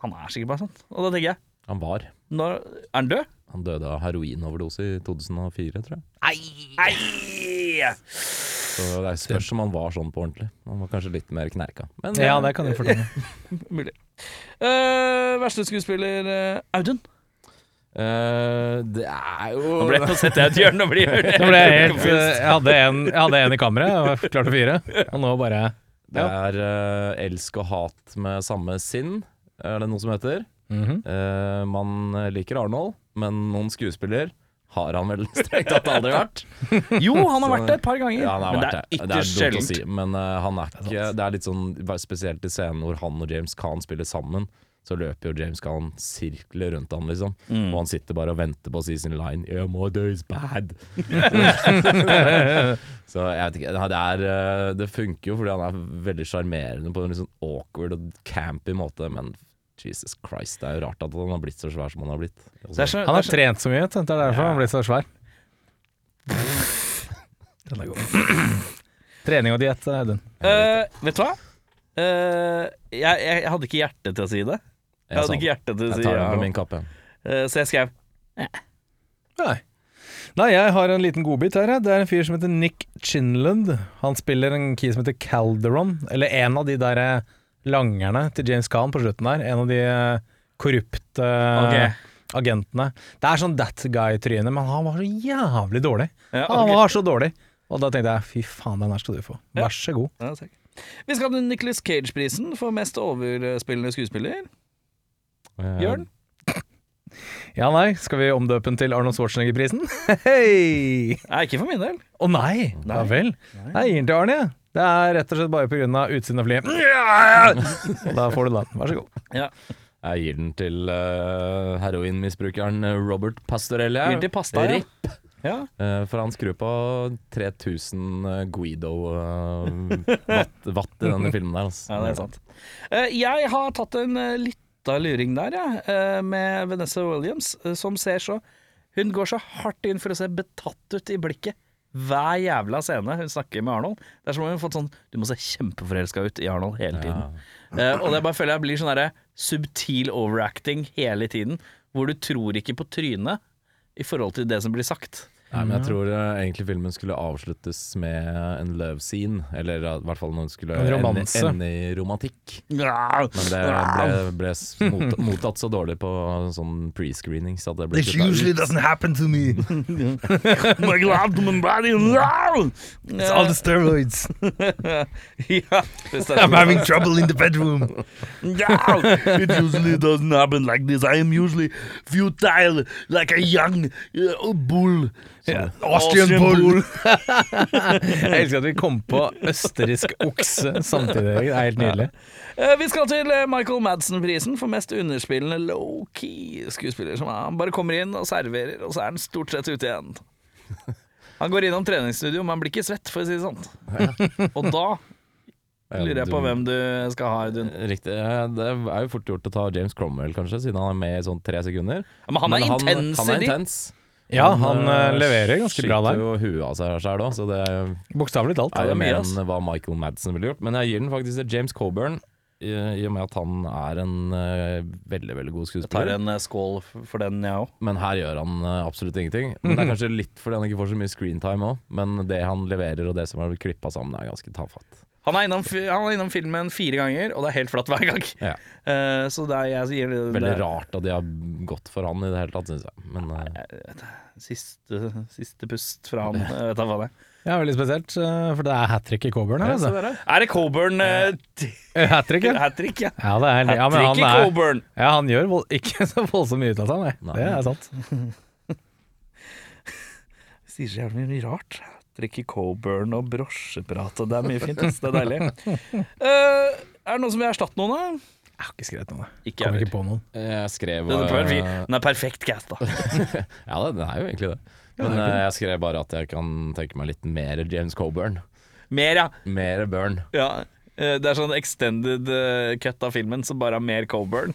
Speaker 1: Han er sikkert bare sånn. Og da tenker jeg
Speaker 4: Han var.
Speaker 1: når, Er han død?
Speaker 4: Han døde av heroinoverdose i 2004, tror jeg.
Speaker 1: Nei!
Speaker 4: Så det spørs om han var sånn på ordentlig. Han var kanskje litt mer knerka. Men
Speaker 2: Ja, ja
Speaker 4: eh,
Speaker 2: det kan du fortelle.
Speaker 1: Mulig. Eh, verste skuespiller eh, Audun.
Speaker 4: eh, det er jo
Speaker 1: Nå ble- nå setter jeg et hjørne og blir
Speaker 2: Nå ble jeg helt eh, Jeg hadde en, jeg hadde en i kammeret, og klarte fire, og nå bare
Speaker 4: Det er eh, elsk og hat med samme sinn, er det noe som heter.
Speaker 2: Mhm.
Speaker 4: Eh, man liker Arnold, men noen skuespiller har han vel strengt tatt aldri vært.
Speaker 1: Jo, han har vært der et par ganger.
Speaker 4: Ja, han har
Speaker 1: men
Speaker 4: vært
Speaker 1: det er
Speaker 4: dumt
Speaker 1: ytterst
Speaker 4: å
Speaker 1: sjeldent.
Speaker 4: Si, men eh, han er ikke Det er litt sånn bare spesielt i scenen hvor han og James Caan spiller sammen. Så løper jo James Caan sirkler rundt han, liksom.
Speaker 1: Mm.
Speaker 4: Og han sitter bare og venter på å si sin line 'Your mother is bad'. Så jeg vet ikke, det, er, eh, det funker jo fordi han er veldig sjarmerende på en litt sånn awkward og campy måte, men Jesus Christ, det er jo rart at han har blitt så svær som han har blitt.
Speaker 1: Det er så,
Speaker 2: Han
Speaker 1: det
Speaker 2: har
Speaker 1: er så,
Speaker 2: trent så mye, vet du. det er derfor han blir så svær. Den er god. Trening og diett, Audun.
Speaker 1: Eh, vet du hva? Eh, jeg, jeg, jeg hadde ikke hjerte til å si det. Jeg
Speaker 4: Jeg sa
Speaker 1: hadde ikke
Speaker 4: det.
Speaker 1: hjerte til å
Speaker 4: Jeg
Speaker 1: si
Speaker 4: tar
Speaker 1: det.
Speaker 4: den på min kappe.
Speaker 1: Eh, så jeg skrev
Speaker 2: Nei. Nei, jeg har en liten godbit her. jeg. Det er en fyr som heter Nick Chinland. Han spiller en key som heter Calderon, eller en av de der eh, langerne til James Caan på slutten der. En av de eh, korrupte eh,
Speaker 1: Ok.
Speaker 2: agentene. Det er sånn that guy-tryne, men han var så jævlig dårlig.
Speaker 1: ja,
Speaker 2: Han
Speaker 1: ok.
Speaker 2: var så dårlig. Og da tenkte jeg fy faen, den her skal du få. Vær så god.
Speaker 1: Ja, takk. Vi skal til Nicholas Cage-prisen for mest overspillende skuespiller.
Speaker 4: Eh,
Speaker 1: Bjørn?
Speaker 2: Ja, nei, skal vi omdøpe den til Arnold Schwarzenegger-prisen? Hei!
Speaker 1: Nei, ikke for min del.
Speaker 2: Å nei! Ja vel. Nei, jeg gir den til Arne, jeg. Det er rett og slett bare pga. utsiden av flyet. Og Da får du den. Vær så god.
Speaker 1: Ja.
Speaker 4: Jeg gir den til eh, heroinmisbrukeren Robert Pastorelli.
Speaker 1: Gir den til pasta, ja.
Speaker 4: Rip.
Speaker 1: Ja.
Speaker 4: Eh, for han skrur på 3000 eh, Guido eh, watt, watt i denne filmen der. Altså.
Speaker 1: ja, det er sant. Eh, jeg har tatt en eh, lita luring der, jeg, eh, med Vanessa Williams, eh, som ser så Hun går så hardt inn for å se betatt ut i blikket. Hver jævla scene hun snakker med Arnold. Det er som om hun har fått sånn Du må se kjempeforelska ut i Arnold hele tiden. Eh, og det bare føler jeg blir sånn derre subtil overacting hele tiden. Hvor du tror ikke på trynet i forhold til det som blir sagt.
Speaker 4: Nei, men jeg tror eh, egentlig filmen skulle avsluttes med en love scene, eller eh, i hvert fall når den skulle
Speaker 2: En romanse.
Speaker 4: ende, ende i romantikk.
Speaker 1: Ja,
Speaker 4: Men det ble, ble s- mot, mottatt så dårlig på sånn pre-screening, så at det ble kuttet ut.
Speaker 2: doesn't happen to me.
Speaker 1: my God, my body, no! Eh,
Speaker 2: steroids.
Speaker 1: ja, det stemmer.
Speaker 2: having trouble in the bedroom.
Speaker 1: No, it usually doesn't happen like this. I am usually futile, like a young uh, bull.
Speaker 4: Absolutt.
Speaker 2: Austrian Bull! jeg elsker at vi kom på østerriksk okse samtidig. Det er helt nydelig.
Speaker 1: Eh, Vi skal til eh, Michael Madsen-prisen for mest underspillende low-key skuespiller. Som er. Han bare kommer inn og serverer, og så er han stort sett ute igjen. Han går innom treningsstudio, men han blir ikke svett, for å si det sånn. Og da lurer jeg på hvem du skal ha, Audun.
Speaker 4: Riktig. eh, Det er jo fort gjort å ta James Cromwell, kanskje, siden han er med i sånn tre sekunder.
Speaker 1: Ja, men han er intens
Speaker 4: han, han
Speaker 1: i
Speaker 4: er
Speaker 1: de.
Speaker 4: intens.
Speaker 2: Ja, han eh,
Speaker 4: eh,
Speaker 2: leverer ganske bra der.
Speaker 4: Skyter jo huet av seg sjøl òg, så det er jo-
Speaker 2: Bokstavelig talt.
Speaker 4: er jo
Speaker 1: mye,
Speaker 4: mer
Speaker 1: ass.
Speaker 4: enn hva Michael Madsen ville gjort. Men jeg gir den faktisk til James Coburn, i, i og med at han er en eh, veldig, veldig god
Speaker 1: Tar
Speaker 4: skuespiller.
Speaker 1: en eh, skål f- for den, jeg òg.
Speaker 4: Men her gjør han eh, absolutt ingenting. Men
Speaker 2: Mhm.
Speaker 4: Det er kanskje litt fordi han ikke får så mye screentime òg, men det han leverer og det som er blitt klippa sammen, er ganske tafatt.
Speaker 1: Han, er innom fi- han er innom filmen fire ganger, og det er helt flatt hver gang.
Speaker 4: Ja.
Speaker 1: Eh, så det er jeg som gir det,
Speaker 4: Veldig
Speaker 1: det
Speaker 4: rart at de har gått for han i det hele tatt, syns jeg. Men eh,
Speaker 1: siste, siste pust fra han. Jeg vet da hva det er.
Speaker 2: Ja, veldig spesielt, eh, for det er hat trick i Coburn her, altså. Eh,
Speaker 1: Er det Coburn uh,
Speaker 2: Hat trick, ja.
Speaker 1: hat trick, ja?
Speaker 2: Ja, det er, ja, men
Speaker 1: Hat
Speaker 2: han
Speaker 1: trick i
Speaker 2: er,
Speaker 1: Coburn.
Speaker 2: ja, han gjør vold, ikke så voldsomt mye ut av seg, nei.
Speaker 4: Nei.
Speaker 2: Det er sant.
Speaker 1: sier så jævlig mye rart. Drikker Coburn og brosjeprat, og det er mye fint. ass. Det er deilig. Eh, er det noen som vil erstatte noen, da?
Speaker 2: Jeg har ikke skrevet noe.
Speaker 1: Ikke
Speaker 2: Kom ikke på noen.
Speaker 4: jeg skrev
Speaker 1: Den er, perfekt,
Speaker 4: eh,
Speaker 1: den er perfekt cast, da.
Speaker 4: Ja, det, det er jo egentlig det. Men eh, jeg skrev bare at jeg kan tenke meg litt mer James Coburn.
Speaker 1: Mer, ja.
Speaker 4: Mer Burn.
Speaker 1: ja. eh, Det er sånn extended eh, cut av filmen, så bare har mer Coburn.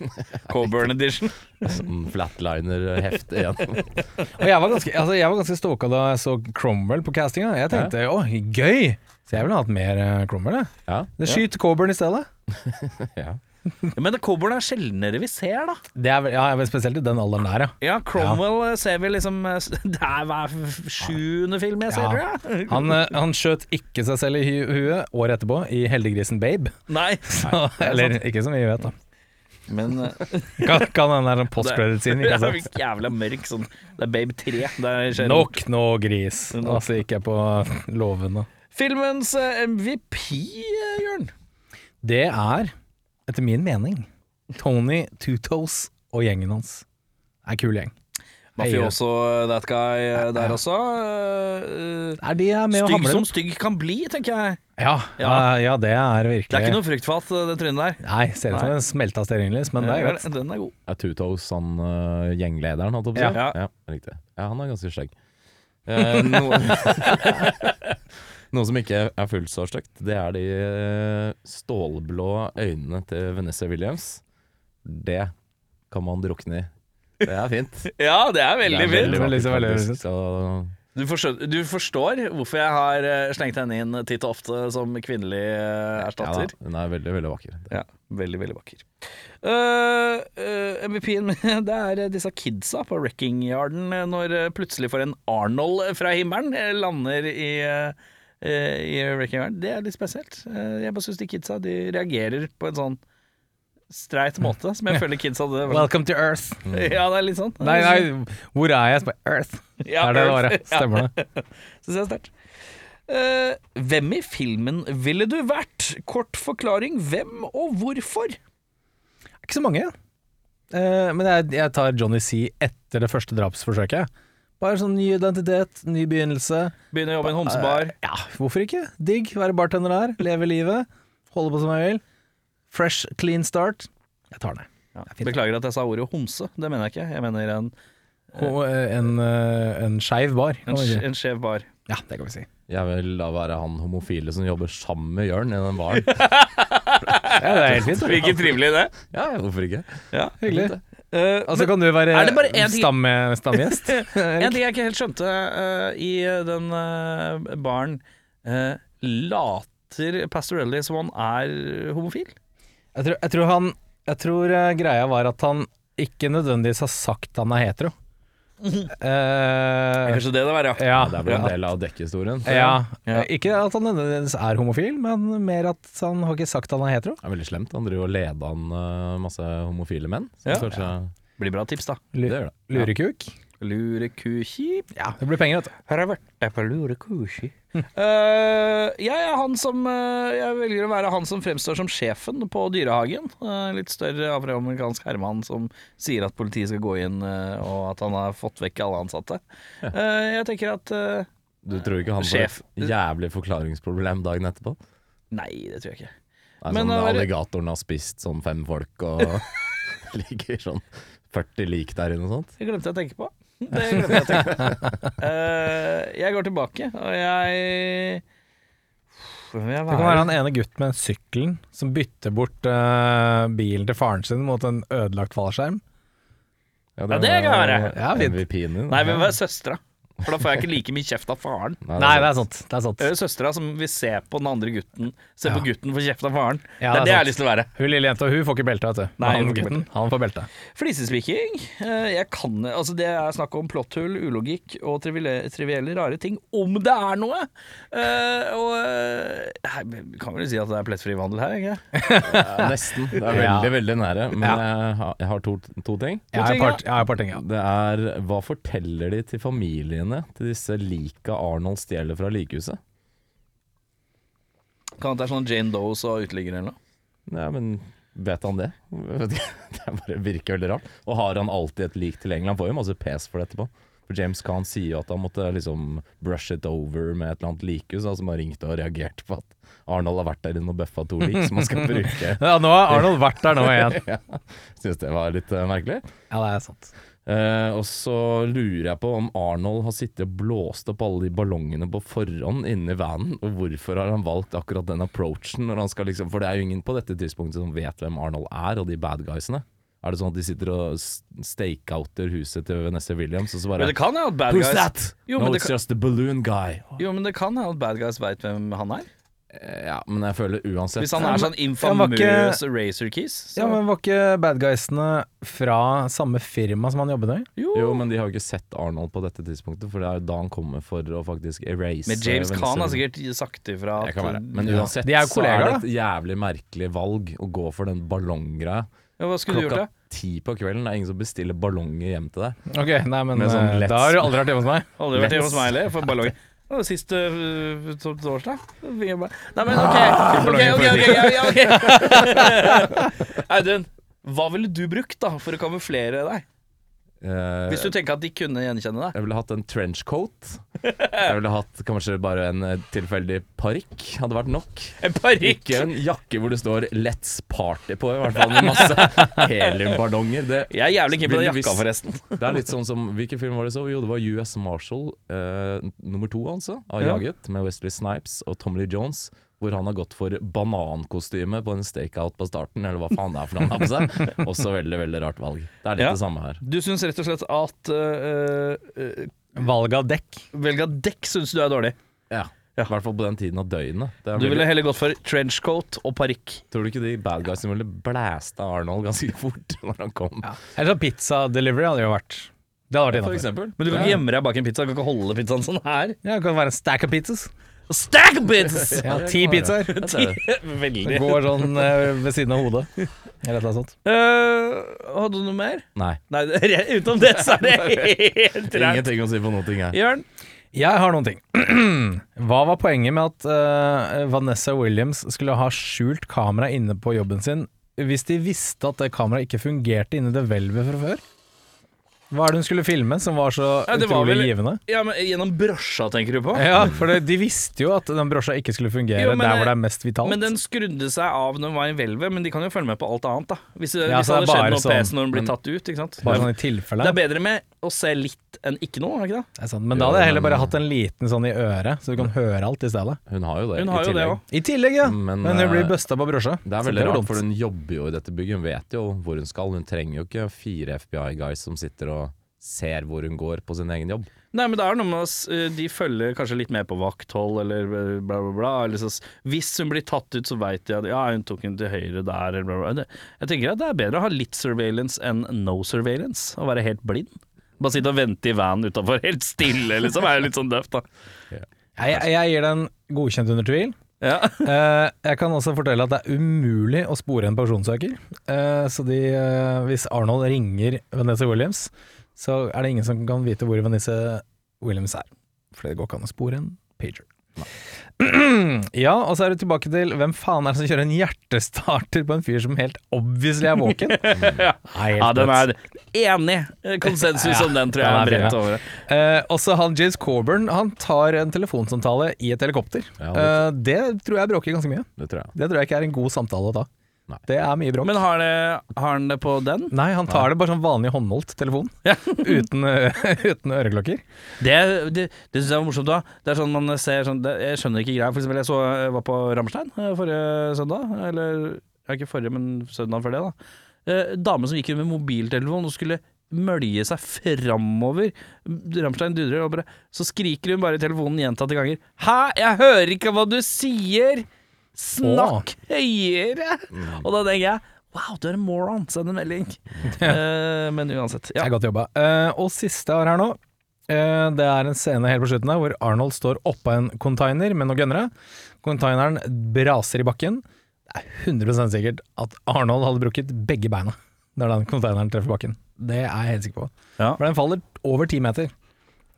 Speaker 1: Coburn edition.
Speaker 4: Sånn flatliner-hefte igjen.
Speaker 2: Og jeg var ganske, altså, jeg var ganske stoka da jeg så Cromwell på castinga. Jeg tenkte å, gøy! Så jeg ville hatt mer eh, Cromwell, jeg.
Speaker 4: Ja,
Speaker 2: Det Skyt Coburn i stedet.
Speaker 4: ja.
Speaker 1: Ja, men Coburn er sjeldnere vi ser, da.
Speaker 2: Det er, vel- ja, jeg er vel spesielt i den alderen der, ja.
Speaker 1: Ja, Cromwell eh, ser vi liksom eh, s- Det er hver f- sjuende film jeg ser,
Speaker 2: Ja.
Speaker 1: tror jeg.
Speaker 2: Han, eh, han skjøt ikke seg selv i hu- huet året etterpå i 'Heldiggrisen Babe'.
Speaker 1: Nei.
Speaker 2: Eller ikke så mye, jeg vet da.
Speaker 1: Men eh,
Speaker 2: Kan, kan den der postcredit-siden vi
Speaker 1: det
Speaker 2: ikke har
Speaker 1: er
Speaker 2: sett.
Speaker 1: jævla mørk sånn. Det er Babe 3. Det er sjelden.
Speaker 2: Nok nå, gris. Og så gikk jeg på låven. og-
Speaker 1: Filmens eh, MVP, eh, Jørn.
Speaker 2: Det er, etter min mening, Tony Tutos og gjengen hans. Det er en kul gjeng.
Speaker 1: Mafioso, eh, that guy eh, der også. Eh,
Speaker 2: Er de er med og
Speaker 1: Stygg
Speaker 2: hamler?
Speaker 1: som stygg kan bli, tenker jeg.
Speaker 2: Ja,
Speaker 1: Ja.
Speaker 2: ja. ja, det er virkelig
Speaker 1: Det er ikke noe fruktfat, eh, det trynet der.
Speaker 2: Nei, ser ut som
Speaker 1: Nei.
Speaker 2: en smelta stearinlys, men det er greit.
Speaker 1: Den er god.
Speaker 4: Er Two Toes han eh, gjenglederen, holdt jeg på å si?
Speaker 1: Ja.
Speaker 4: riktig. Ja, han er ganske skjegg. Eh, noe, noe som ikke er fullt så stygt, det er de eh, stålblå øynene til Vanessa Williams. Det kan man drukne i. Det er fint.
Speaker 1: Ja, det er
Speaker 4: Det
Speaker 1: veldig fint.
Speaker 4: liksom er
Speaker 2: Veldig,
Speaker 4: vakkert,
Speaker 2: veldig, veldig
Speaker 4: faktisk. Så
Speaker 1: Du forstår, du forstår hvorfor jeg har eh, slengt henne inn titt og ofte som kvinnelig eh, erstatter.
Speaker 4: Ja, da, hun er veldig, veldig vakker.
Speaker 1: Ja, Veldig, veldig vakker. Uh, MVP-en min, det er eh, disse kidsa på Wrecking Yarden eh, når eh, plutselig får en Arnold fra himmelen eh, lander i, eh, eh, i Wrecking Yarden. Det er litt spesielt. Eh, jeg bare syns de kidsa de reagerer på en sånn streit måte, som jeg føler kidsa hadde.
Speaker 2: Mm. Welcome to Earth.
Speaker 1: Ja, det er litt sånn.
Speaker 2: Nei, nei, hvor er jeg? Sp- Earth.
Speaker 1: Ja,
Speaker 2: er det det
Speaker 1: Earth.
Speaker 2: var, ja. Stemmer det.
Speaker 1: Synes jeg er sterkt. Eh, hvem i filmen ville du vært? Kort forklaring hvem og hvorfor.
Speaker 2: Ikke så mange. Eh, men jeg, jeg tar Johnny C etter det første drapsforsøket. Bare sånn ny identitet, ny begynnelse.
Speaker 1: Begynner å jobbe i en homsebar.
Speaker 2: Ja, hvorfor ikke? Digg, være bartender der, leve livet, holde på som jeg vil. Fresh, clean start. Jeg tar den. jeg.
Speaker 1: Ja.
Speaker 2: Det er fint.
Speaker 1: Beklager at jeg sa ordet homse, det mener jeg ikke. Jeg mener en,
Speaker 2: Og eh, en, eh, en skeiv bar. kan
Speaker 1: en,
Speaker 2: man si.
Speaker 1: en skjev bar.
Speaker 2: Ja, det kan vi si.
Speaker 4: Jeg vil da være han homofile som jobber sammen med Jørn i den baren.
Speaker 2: Ja, det er helt fint.
Speaker 1: Ikke trivelig det.
Speaker 4: ja, ja, hvorfor ikke?
Speaker 1: Ja.
Speaker 2: Hyggelig.
Speaker 1: Eh,
Speaker 2: Altså, kan du være
Speaker 1: er det bare en ting-
Speaker 2: stamme, stamgjest?
Speaker 1: men en ting jeg ikke helt skjønte eh, i den eh, baren eh, Later Pastorelli som han er homofil?
Speaker 2: Jeg tror, jeg tror han Jeg tror eh, greia var at han ikke nødvendigvis har sagt han er hetero. Eh,
Speaker 1: Kanskje det det var,
Speaker 2: ja,
Speaker 4: Det er vel en del av dekkhistorien. så
Speaker 2: ja.
Speaker 1: Ja.
Speaker 2: Ikke at han nødvendigvis er homofil, men mer at han har ikke sagt han er hetero.
Speaker 4: Det er veldig slemt. Han driver og leder an eh, masse homofile menn. Så
Speaker 1: Ja.
Speaker 4: kanskje
Speaker 1: Blir bra tips, da.
Speaker 4: Det gjør det.
Speaker 2: Lurekuk.
Speaker 1: Lurekuki.
Speaker 2: Ja, det blir penger, vet du.
Speaker 4: Har jeg vært der på lurekushi?
Speaker 1: Eh, jeg er han som eh, Jeg velger å være han som fremstår som sjefen på dyrehagen. Eh, litt større afroamerikansk herremann som sier at politiet skal gå inn, eh, og at han har fått vekk alle ansatte. Eh, jeg tenker at eh,
Speaker 4: Du tror ikke han får
Speaker 1: Sjef.
Speaker 4: et jævlig forklaringsproblem dagen etterpå?
Speaker 1: Nei, det tror jeg ikke.
Speaker 4: Nei,
Speaker 1: Men eh,
Speaker 4: sånn
Speaker 1: da var det-
Speaker 4: Alligatoren har spist sånn fem folk og ligger sånn 40 lik der inne og sånt.
Speaker 1: Det glemte jeg å tenke på. Det glemte jeg å tenke på. Eh, jeg går tilbake, og jeg Hvem vil jeg
Speaker 2: Det kan være
Speaker 1: være?
Speaker 2: han ene gutt med sykkelen som bytter bort eh, bilen til faren sin mot en ødelagt fallskjerm.
Speaker 1: Ja, det kan
Speaker 4: var
Speaker 1: være.
Speaker 2: Ja, fint.
Speaker 4: MVP-en din.
Speaker 1: Nei, hvem vil være søstera? For da får jeg ikke like mye kjeft av faren.
Speaker 4: Nei,
Speaker 2: Nei, det
Speaker 4: det
Speaker 2: er sant. Det er sant.
Speaker 1: Det er jo Eh, søstera som vil se på den andre gutten. Se på
Speaker 2: Ja.
Speaker 1: gutten få kjeft av faren.
Speaker 2: Ja,
Speaker 1: det er det jeg har
Speaker 2: sant.
Speaker 1: lyst til å være.
Speaker 2: Hun lille jenta hun får ikke belte, vet du.
Speaker 1: Nei, hun
Speaker 2: han,
Speaker 1: får ikke
Speaker 2: gutten, han får belte.
Speaker 1: Flisespiking. eh, Jeg kan Altså, det er snakk om plotthull, ulogikk og trivielle, trivielle rare ting. Om det er noe! Eh, og eh, her, vi kan vel si at det er plettfri vandel her, ikke sant?
Speaker 4: er nesten. Det er
Speaker 2: Ja.
Speaker 4: veldig, veldig nære. Men
Speaker 2: Ja.
Speaker 4: jeg har, jeg har to, to ting.
Speaker 2: Jeg har
Speaker 1: ting,
Speaker 2: et par- jeg har et par ting, ja.
Speaker 4: Det er Hva forteller de til familiene til disse lika Arnold stjeler fra likehuset?
Speaker 1: Kan at det er sånn Jane Does og uteliggere eller noe.
Speaker 4: Ja, men vet han det? Vet ikke. Det er bare virker veldig rart. Og har han alltid et lik tilgjengelig? Han får jo masse pes for det etterpå. For James Caan sier jo at han måtte liksom brush it over med et eller annet likhus, da, som har ringt og reagert på at Arnold har vært der inne og bøffa to lik som han skal bruke.
Speaker 2: Ja, nå har Arnold vært der nå igjen.
Speaker 4: Syns det var litt eh, merkelig.
Speaker 2: Ja, det er sant.
Speaker 4: Eh, og så lurer jeg på om Arnold har sittet og blåst opp alle de ballongene på forhånd inni vanen, og hvorfor har han valgt akkurat den approachen når han skal liksom For det er jo ingen på dette tidspunktet som vet hvem Arnold er, og de bad guysene. Er det sånn at de sitter og s- stakeouter huset til Vanessa Williams, og så bare
Speaker 1: Men det kan jo at bad
Speaker 4: Who's
Speaker 1: guys
Speaker 4: that?
Speaker 1: Jo,
Speaker 4: no,
Speaker 1: men det
Speaker 4: it's
Speaker 1: kan-
Speaker 4: just the balloon guy.
Speaker 1: Jo, men det kan hende at bad guys veit hvem han er.
Speaker 4: Eh, Ja, men jeg føler uansett
Speaker 1: Hvis han er sånn
Speaker 2: han var ikke-
Speaker 1: infamøs razor keys. Så.
Speaker 2: Ja, men Var ikke bad guysene fra samme firma som han jobbet i?
Speaker 1: jo.
Speaker 4: Jo, men de har jo ikke sett Arnold på dette tidspunktet, for det er jo da han kommer for å faktisk erase
Speaker 1: Men James altså,
Speaker 4: Vanessa
Speaker 1: Khan har sikkert
Speaker 4: Williams.
Speaker 1: sagt ifra
Speaker 4: Jeg
Speaker 1: at
Speaker 4: kan være. Men
Speaker 1: ja.
Speaker 4: uansett
Speaker 2: De er jo
Speaker 4: så er det
Speaker 2: kollegaer,
Speaker 4: et jævlig merkelig valg å gå for den ballonggreia.
Speaker 1: Hva skulle du gjort,
Speaker 4: Klokka
Speaker 1: da?
Speaker 4: ti på kvelden, det er ingen som bestiller ballonger hjem til deg.
Speaker 2: Ok, nei, men
Speaker 4: Med sånn
Speaker 2: eh,
Speaker 4: lett-
Speaker 2: Da har du aldri vært hjemme hos meg.
Speaker 1: Aldri vært hjemme hos meg heller, for ballongen. Det var siste øh, to- torsdag. Vi er bare- Nei,
Speaker 4: Ah.
Speaker 1: men OK. Ok, ok, ok, ja, ja, ok. Audun, hva ville du brukt da for å kamuflere deg?
Speaker 4: Eh,
Speaker 1: Hvis du tenker at de kunne gjenkjenne deg.
Speaker 4: Jeg ville hatt en trenchcoat. Jeg ville hatt kanskje bare en eh, tilfeldig parykk. Hadde vært nok.
Speaker 1: En parykk!
Speaker 4: Ikke en jakke hvor det står 'Let's Party' på, i hvert fall med masse heliumballonger. Det,
Speaker 1: Jeg er jævlig keen på den
Speaker 4: Ville
Speaker 1: jakka,
Speaker 4: hvis-
Speaker 1: forresten.
Speaker 4: det er litt sånn som Hvilken film var det så? Jo, det var US Marshall eh, nummer to, altså. Av
Speaker 1: Ja.
Speaker 4: Jaget, med Wesley Snipes og Tom Lee Jones. Hvor han har gått for banankostyme på en stakeout på starten, eller hva faen det er for noe han har på seg. Også veldig, veldig rart valg. Det er litt
Speaker 1: Ja.
Speaker 4: det samme her.
Speaker 1: Du syns rett og slett at øh, øh,
Speaker 2: Valg av dekk.
Speaker 1: Velg av dekk syns du er dårlig.
Speaker 4: Ja. I hvert fall på den tiden av døgnet. Det er
Speaker 1: Du ville
Speaker 4: veldig-
Speaker 1: heller gått for trenchcoat og parykk.
Speaker 4: Tror du ikke de bad guysene ville blæsta Arnold ganske fort når han kom?
Speaker 2: Eller sånn pizza delivery hadde jo vært. Det hadde vært
Speaker 4: For
Speaker 2: innafor.
Speaker 4: eksempel.
Speaker 1: Men du kan ikke gjemme deg bak en pizza. Du kan ikke holde pizzaen sånn her.
Speaker 2: Ja, det kan være en stack of pizzas.
Speaker 1: Stack of bits!
Speaker 2: Ja, Ti pizzaer.
Speaker 4: Jeg ser det.
Speaker 1: Veldig.
Speaker 2: Det Går sånn eh, ved siden av hodet. Eller et eller annet sånt.
Speaker 1: Eh, hadde du noe mer?
Speaker 4: Nei.
Speaker 1: Nei, det- utenom det så er det helt rævt.
Speaker 4: Ingenting å si på noen ting her.
Speaker 1: Jørn?
Speaker 2: Jeg har noen ting. Hva var poenget med at eh, Vanessa Williams skulle ha skjult kamera inne på jobben sin, hvis de visste at det kameraet ikke fungerte inni det hvelvet fra før? Hva er det hun skulle filme som var så
Speaker 1: Ja, det var
Speaker 2: utrolig
Speaker 1: vel-
Speaker 2: givende?
Speaker 1: Ja, men Gjennom brosja, tenker du på?
Speaker 2: Ja, for det, de visste jo at den brosja ikke skulle fungere
Speaker 1: Jo, men
Speaker 2: der
Speaker 1: det-
Speaker 2: hvor det er mest vitalt.
Speaker 1: Men den skrudde seg av når den var i hvelvet, men de kan jo følge med på alt annet, da. Hvis, det-
Speaker 2: Ja,
Speaker 1: hvis det
Speaker 2: så
Speaker 1: hadde
Speaker 2: det er
Speaker 1: skjedd
Speaker 2: bare
Speaker 1: noe
Speaker 2: sånn,
Speaker 1: pes når den blir
Speaker 4: men-
Speaker 1: tatt ut, ikke sant.
Speaker 2: Bare sånn i
Speaker 1: Det
Speaker 2: tilfelle.
Speaker 1: er bedre med å se litt enn ikke noe, er det ikke det?
Speaker 2: Det er sant. Men da hadde jeg heller bare hatt en liten sånn i øret, så du kan høre alt i stedet.
Speaker 4: Hun har jo det.
Speaker 1: Hun
Speaker 4: i
Speaker 1: har jo det
Speaker 4: tillegg.
Speaker 1: òg.
Speaker 2: I tillegg, ja.
Speaker 4: Men,
Speaker 2: Men,
Speaker 4: eh,
Speaker 2: hun blir busta på brosja.
Speaker 4: Det er
Speaker 2: så
Speaker 4: veldig
Speaker 2: var
Speaker 4: rart,
Speaker 2: dumt.
Speaker 4: for hun jobber jo i dette bygget. Hun vet jo hvor hun skal. Hun trenger jo ikke fire FBI-guys som sitter og ser hvor hun går på sin egen jobb.
Speaker 1: Nei, men det er noe med oss, eh, de følger kanskje litt med på vakthold eller eh, bla, bla, bla. Eller så, hvis hun blir tatt ut, så veit de at ja, hun tok henne til høyre der, eller bla, bla. Det- Jeg tenker at det er bedre å ha litt surveillance enn no surveillance, å være helt blind. Bare sitte og vente i van utafor, helt stille, liksom. Er jo litt sånn døvt, da.
Speaker 2: Jeg, jeg, jeg gir den godkjent under tvil.
Speaker 1: Ja.
Speaker 2: Eh, jeg kan også fortelle at det er umulig å spore en pensjonssøker. Eh, så de, eh, hvis Arnold ringer Vanessa Williams, så er det ingen som kan vite hvor Vanessa Williams er. For det går ikke an å spore en pager. ja, og så er du tilbake til hvem faen er det som kjører en hjertestarter på en fyr som helt obviously er våken?
Speaker 1: Ja, den er enig Eh, konsensus om den, tror jeg.
Speaker 2: Ja, den er
Speaker 1: er bredt
Speaker 2: fin, ja.
Speaker 1: over det.
Speaker 2: Eh, også han James Corburn Han tar en telefonsamtale i et helikopter.
Speaker 4: Ja,
Speaker 2: Eh, det tror jeg bråker ganske mye.
Speaker 4: Det tror jeg.
Speaker 2: Det tror jeg ikke er en god samtale da.
Speaker 4: Nei.
Speaker 2: Det er mye bråk.
Speaker 1: Men har, det, har han det på den?
Speaker 2: Nei, han tar det bare sånn vanlig håndholdt telefon. uten, ø- uten øreklokker.
Speaker 1: Det, det, det syns jeg var morsomt. da Det er sånn man ser sånn, det, Jeg skjønner ikke greia. For eksempel, jeg, så, jeg var på Ramstein eh, forrige søndag. Eller ja, ikke forrige, men søndag før det. da eh, Dame som gikk rundt med mobiltelefon og skulle mølje seg framover. Ramstein dudrer, og bare, så skriker hun bare i telefonen gjentatte ganger. Hæ, jeg hører ikke hva du sier! Snakk høyere! Og da tenker jeg Wow, du er en moron! Send en melding. Eh, men uansett.
Speaker 2: Det
Speaker 1: Ja.
Speaker 2: er godt jobba. Eh, og siste jeg har her nå, eh, det er en scene helt på slutten her hvor Arnold står oppå en container med noen gunnere. Containeren braser i bakken. Det er 100 sikkert at Arnold hadde brukket begge beina når den containeren treffer bakken. Det er jeg helt sikker på.
Speaker 1: Ja.
Speaker 2: For den faller over ti meter.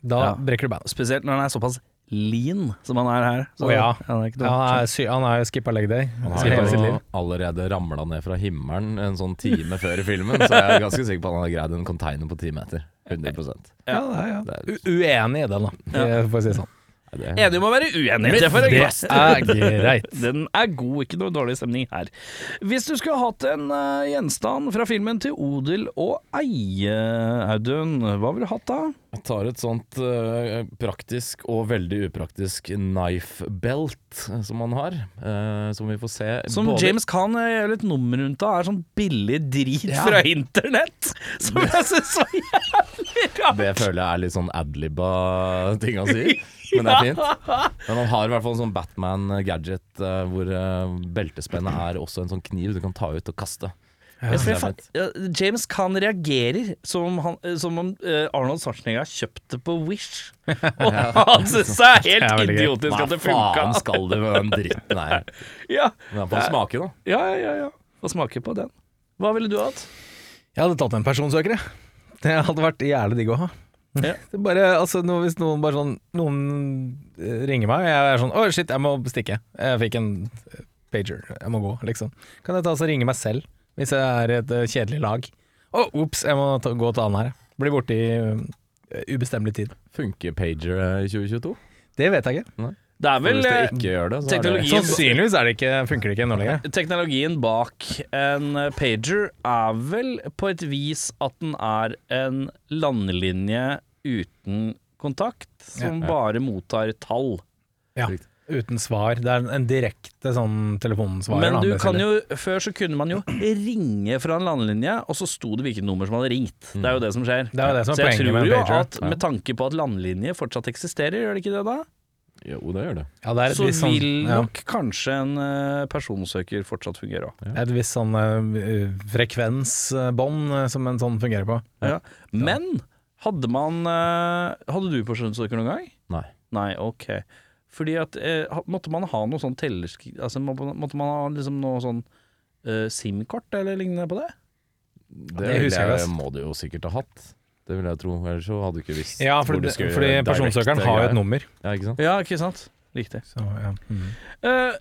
Speaker 2: Da
Speaker 1: Ja.
Speaker 2: brekker du beina.
Speaker 1: Spesielt når han er såpass lean som han er her. Så
Speaker 2: Å ja.
Speaker 1: han er ikke noe-
Speaker 2: Han er, sy han er jo skippa leg day.
Speaker 4: Han
Speaker 2: hele
Speaker 4: har
Speaker 2: sitt
Speaker 4: jo
Speaker 2: liv.
Speaker 4: allerede ramla ned fra himmelen en sånn time før i filmen, så jeg er ganske sikker på at han har greid en container på ti meter. 100 Nei,
Speaker 2: Ja, det er, ja.
Speaker 4: Det er-
Speaker 2: U uenig i den, da, for å si det sånn.
Speaker 4: det er-
Speaker 1: Enig om å være uenig. Det får jeg
Speaker 2: Det er greit.
Speaker 1: Den er god, ikke noe dårlig stemning her. Hvis du skulle hatt en eh, gjenstand fra filmen til odel og eie, Audun, hva ville du hatt da?
Speaker 4: Jeg tar et sånt eh, praktisk og veldig upraktisk knife belt som han har, eh, som vi får se
Speaker 1: Som
Speaker 4: både-
Speaker 1: James Khan gjør litt nummer rundt av, er sånn billig drit fra internett! Som jeg syns var jævlig rart!
Speaker 4: Det føler jeg er litt sånn adlibba ting han sier, men det er fint. Men han har i hvert fall en sånn Batman-gadget eh, hvor eh, beltespennet er også en sånn kniv du kan ta ut og kaste.
Speaker 1: Jeg tror
Speaker 4: Det er
Speaker 1: jeg fa-
Speaker 4: fint.
Speaker 1: ja, James Khan reagerer som om, han, eh, som om eh, Arnold Schwarzenegger har kjøpt det på Wish. Og han syns det er
Speaker 2: Det er
Speaker 1: helt
Speaker 2: veldig gøy.
Speaker 1: idiotisk at det
Speaker 4: faen
Speaker 1: funka.
Speaker 4: skal du med den dritten her?
Speaker 1: Ja,
Speaker 4: Men han får smake, da.
Speaker 1: ja, ja. ja, ja. Få smake på den. Hva ville du hatt?
Speaker 2: Jeg hadde tatt en personsøker, jeg. Det hadde vært jævlig digg å ha.
Speaker 1: Ja.
Speaker 2: Det er bare, altså, nå, hvis noen bare sånn Noen eh, ringer meg, og jeg er sånn Å, shit, jeg må stikke. Jeg fikk en eh, pager. Jeg må gå, liksom. Kan jeg ta og ringe meg selv, hvis jeg er i et eh, kjedelig lag? Å, ops, jeg må ta, gå til annen her. Blir borte i eh, ubestemmelig tid.
Speaker 4: Funker pager eh, i 2022?
Speaker 2: Det vet jeg ikke.
Speaker 1: Det er
Speaker 4: For
Speaker 1: vel
Speaker 4: hvis det
Speaker 1: eh,
Speaker 4: ikke gjør det, så er det
Speaker 1: teknologi-
Speaker 2: Sannsynligvis er det ikke, funker det ikke nå lenger.
Speaker 1: Teknologien bak en eh, pager er vel på et vis at den er en landlinje uten kontakt, som bare mottar tall.
Speaker 2: Ja, uten svar. Det er en- en direkte sånn telefonsvarer.
Speaker 1: Men
Speaker 2: da,
Speaker 1: du
Speaker 2: det
Speaker 1: kan
Speaker 2: selger.
Speaker 1: jo, før så kunne man jo ringe fra en landlinje, og så sto det hvilket nummer som hadde ringt. Det er jo det som skjer.
Speaker 2: Mm. Det er jo det som er
Speaker 1: så jeg
Speaker 2: poenget med
Speaker 1: tror
Speaker 2: en
Speaker 1: jo
Speaker 2: pager.
Speaker 1: at med tanke på at landlinje fortsatt eksisterer, gjør det ikke det da?
Speaker 4: Jo, det gjør det.
Speaker 2: ja, det er et
Speaker 1: Så
Speaker 2: visst sånn-
Speaker 1: vil
Speaker 2: ja.
Speaker 1: nok kanskje en eh, personsøker fortsatt fungere òg.
Speaker 2: Det er et visst sånn eh, frekvensbånd eh, som en sånn fungerer på.
Speaker 1: Ja. Men hadde man eh, Hadde du personsøker noen gang?
Speaker 4: Nei.
Speaker 1: Nei, ok. Fordi at eh, ha- Måtte man ha noe sånn tellersk... Altså, må- måtte man ha liksom noe sånn eh, SIM-kort eller lignende på det?
Speaker 4: Det,
Speaker 2: det
Speaker 4: vil
Speaker 2: husker jeg,
Speaker 4: jeg,
Speaker 2: ass.
Speaker 4: må du jo sikkert ha hatt. Det vil jeg tro, ellers så hadde du ikke visst
Speaker 2: Ja,
Speaker 4: hvor
Speaker 2: fordi,
Speaker 4: du skulle
Speaker 2: fordi
Speaker 4: direkte
Speaker 2: personsøkeren har jo
Speaker 4: greier.
Speaker 2: et nummer.
Speaker 4: Ja, ikke sant?
Speaker 1: Ja, ikke sant? Riktig.
Speaker 2: Så, ja. mm.
Speaker 1: Eh,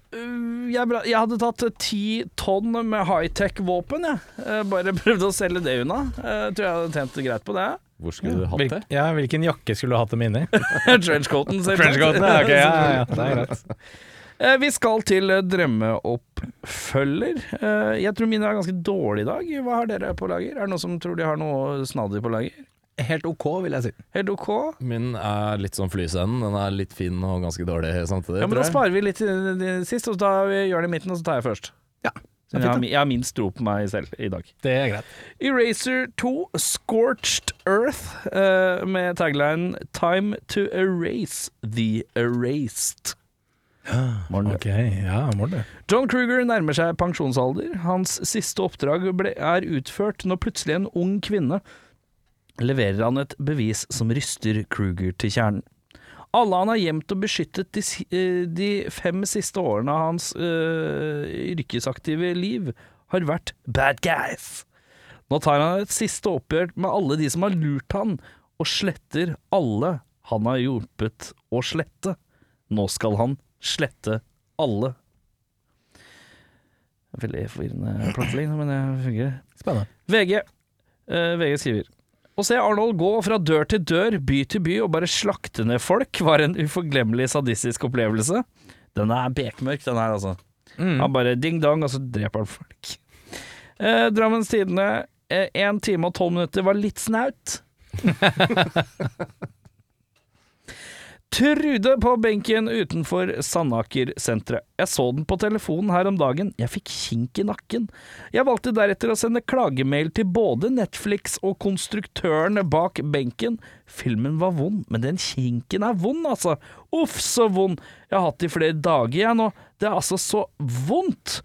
Speaker 1: jeg, bra- jeg hadde tatt ti tonn med high-tech våpen, jeg. Eh, bare prøvde å selge det unna. Eh, tror jeg hadde tjent greit på det.
Speaker 4: Hvor skulle du hatt
Speaker 2: Mm. Hvil,
Speaker 4: det?
Speaker 2: ja, hvilken jakke skulle du hatt dem inni?
Speaker 1: Trenchcoaten, selvsagt.
Speaker 2: Trenchcoaten, ja, ok, ja, ja, ja, det er greit.
Speaker 1: Eh, vi skal til eh, drømmeoppfølger. Eh, jeg tror mine er ganske dårlige i dag. Hva har dere på lager? Er det noen som tror de har noe snadder på lager?
Speaker 2: Helt ok, vil jeg si.
Speaker 1: Helt ok?
Speaker 4: Min er litt sånn flyscenen. Den er litt fin og ganske dårlig samtidig.
Speaker 1: Ja, men da
Speaker 4: tror jeg.
Speaker 1: sparer vi litt til til sist, og så tar vi, gjør det i midten, og så tar jeg først.
Speaker 2: Ja,
Speaker 1: Så
Speaker 2: det er
Speaker 1: jeg, har,
Speaker 2: fint,
Speaker 1: mi- jeg har minst tro på meg selv i dag.
Speaker 2: Det er greit.
Speaker 1: Eraser 2, Scorched Earth, eh, med taglinen 'Time to erase the erased'. Morgen, du.
Speaker 2: Ok, ja, må du.
Speaker 1: John Kruger nærmer seg pensjonsalder. Hans siste oppdrag ble, er utført når plutselig en ung kvinne leverer han et bevis som ryster Kruger til kjernen. Alle han har gjemt og beskyttet de, si- eh, de fem siste årene av hans eh, yrkesaktive liv, har vært bad guys. Nå tar han et siste oppgjør med alle de som har lurt han, og sletter alle han har hjulpet å slette. Nå skal han slette alle. Veldig forvirrende plattling, men det fungerer.
Speaker 2: Spennende.
Speaker 1: VG. Eh, VG skriver Å se Arnold gå fra dør til dør, by til by og bare slakte ned folk var en uforglemmelig sadistisk opplevelse. Den er bekmørk, den her, altså.
Speaker 2: Mm.
Speaker 1: Han bare ding-dong, og så dreper han folk. Eh, Drammens Tidende, én time og tolv minutter var litt snaut. Trude på benken utenfor Sandaker-senteret. Jeg så den på telefonen her om dagen. Jeg fikk kink i nakken. Jeg valgte deretter å sende klagemail til både Netflix og konstruktørene bak benken. Filmen var vond, men den kinken er vond, altså. Uff, så vond. Jeg har hatt det i flere dager, jeg nå. Det er altså så vondt.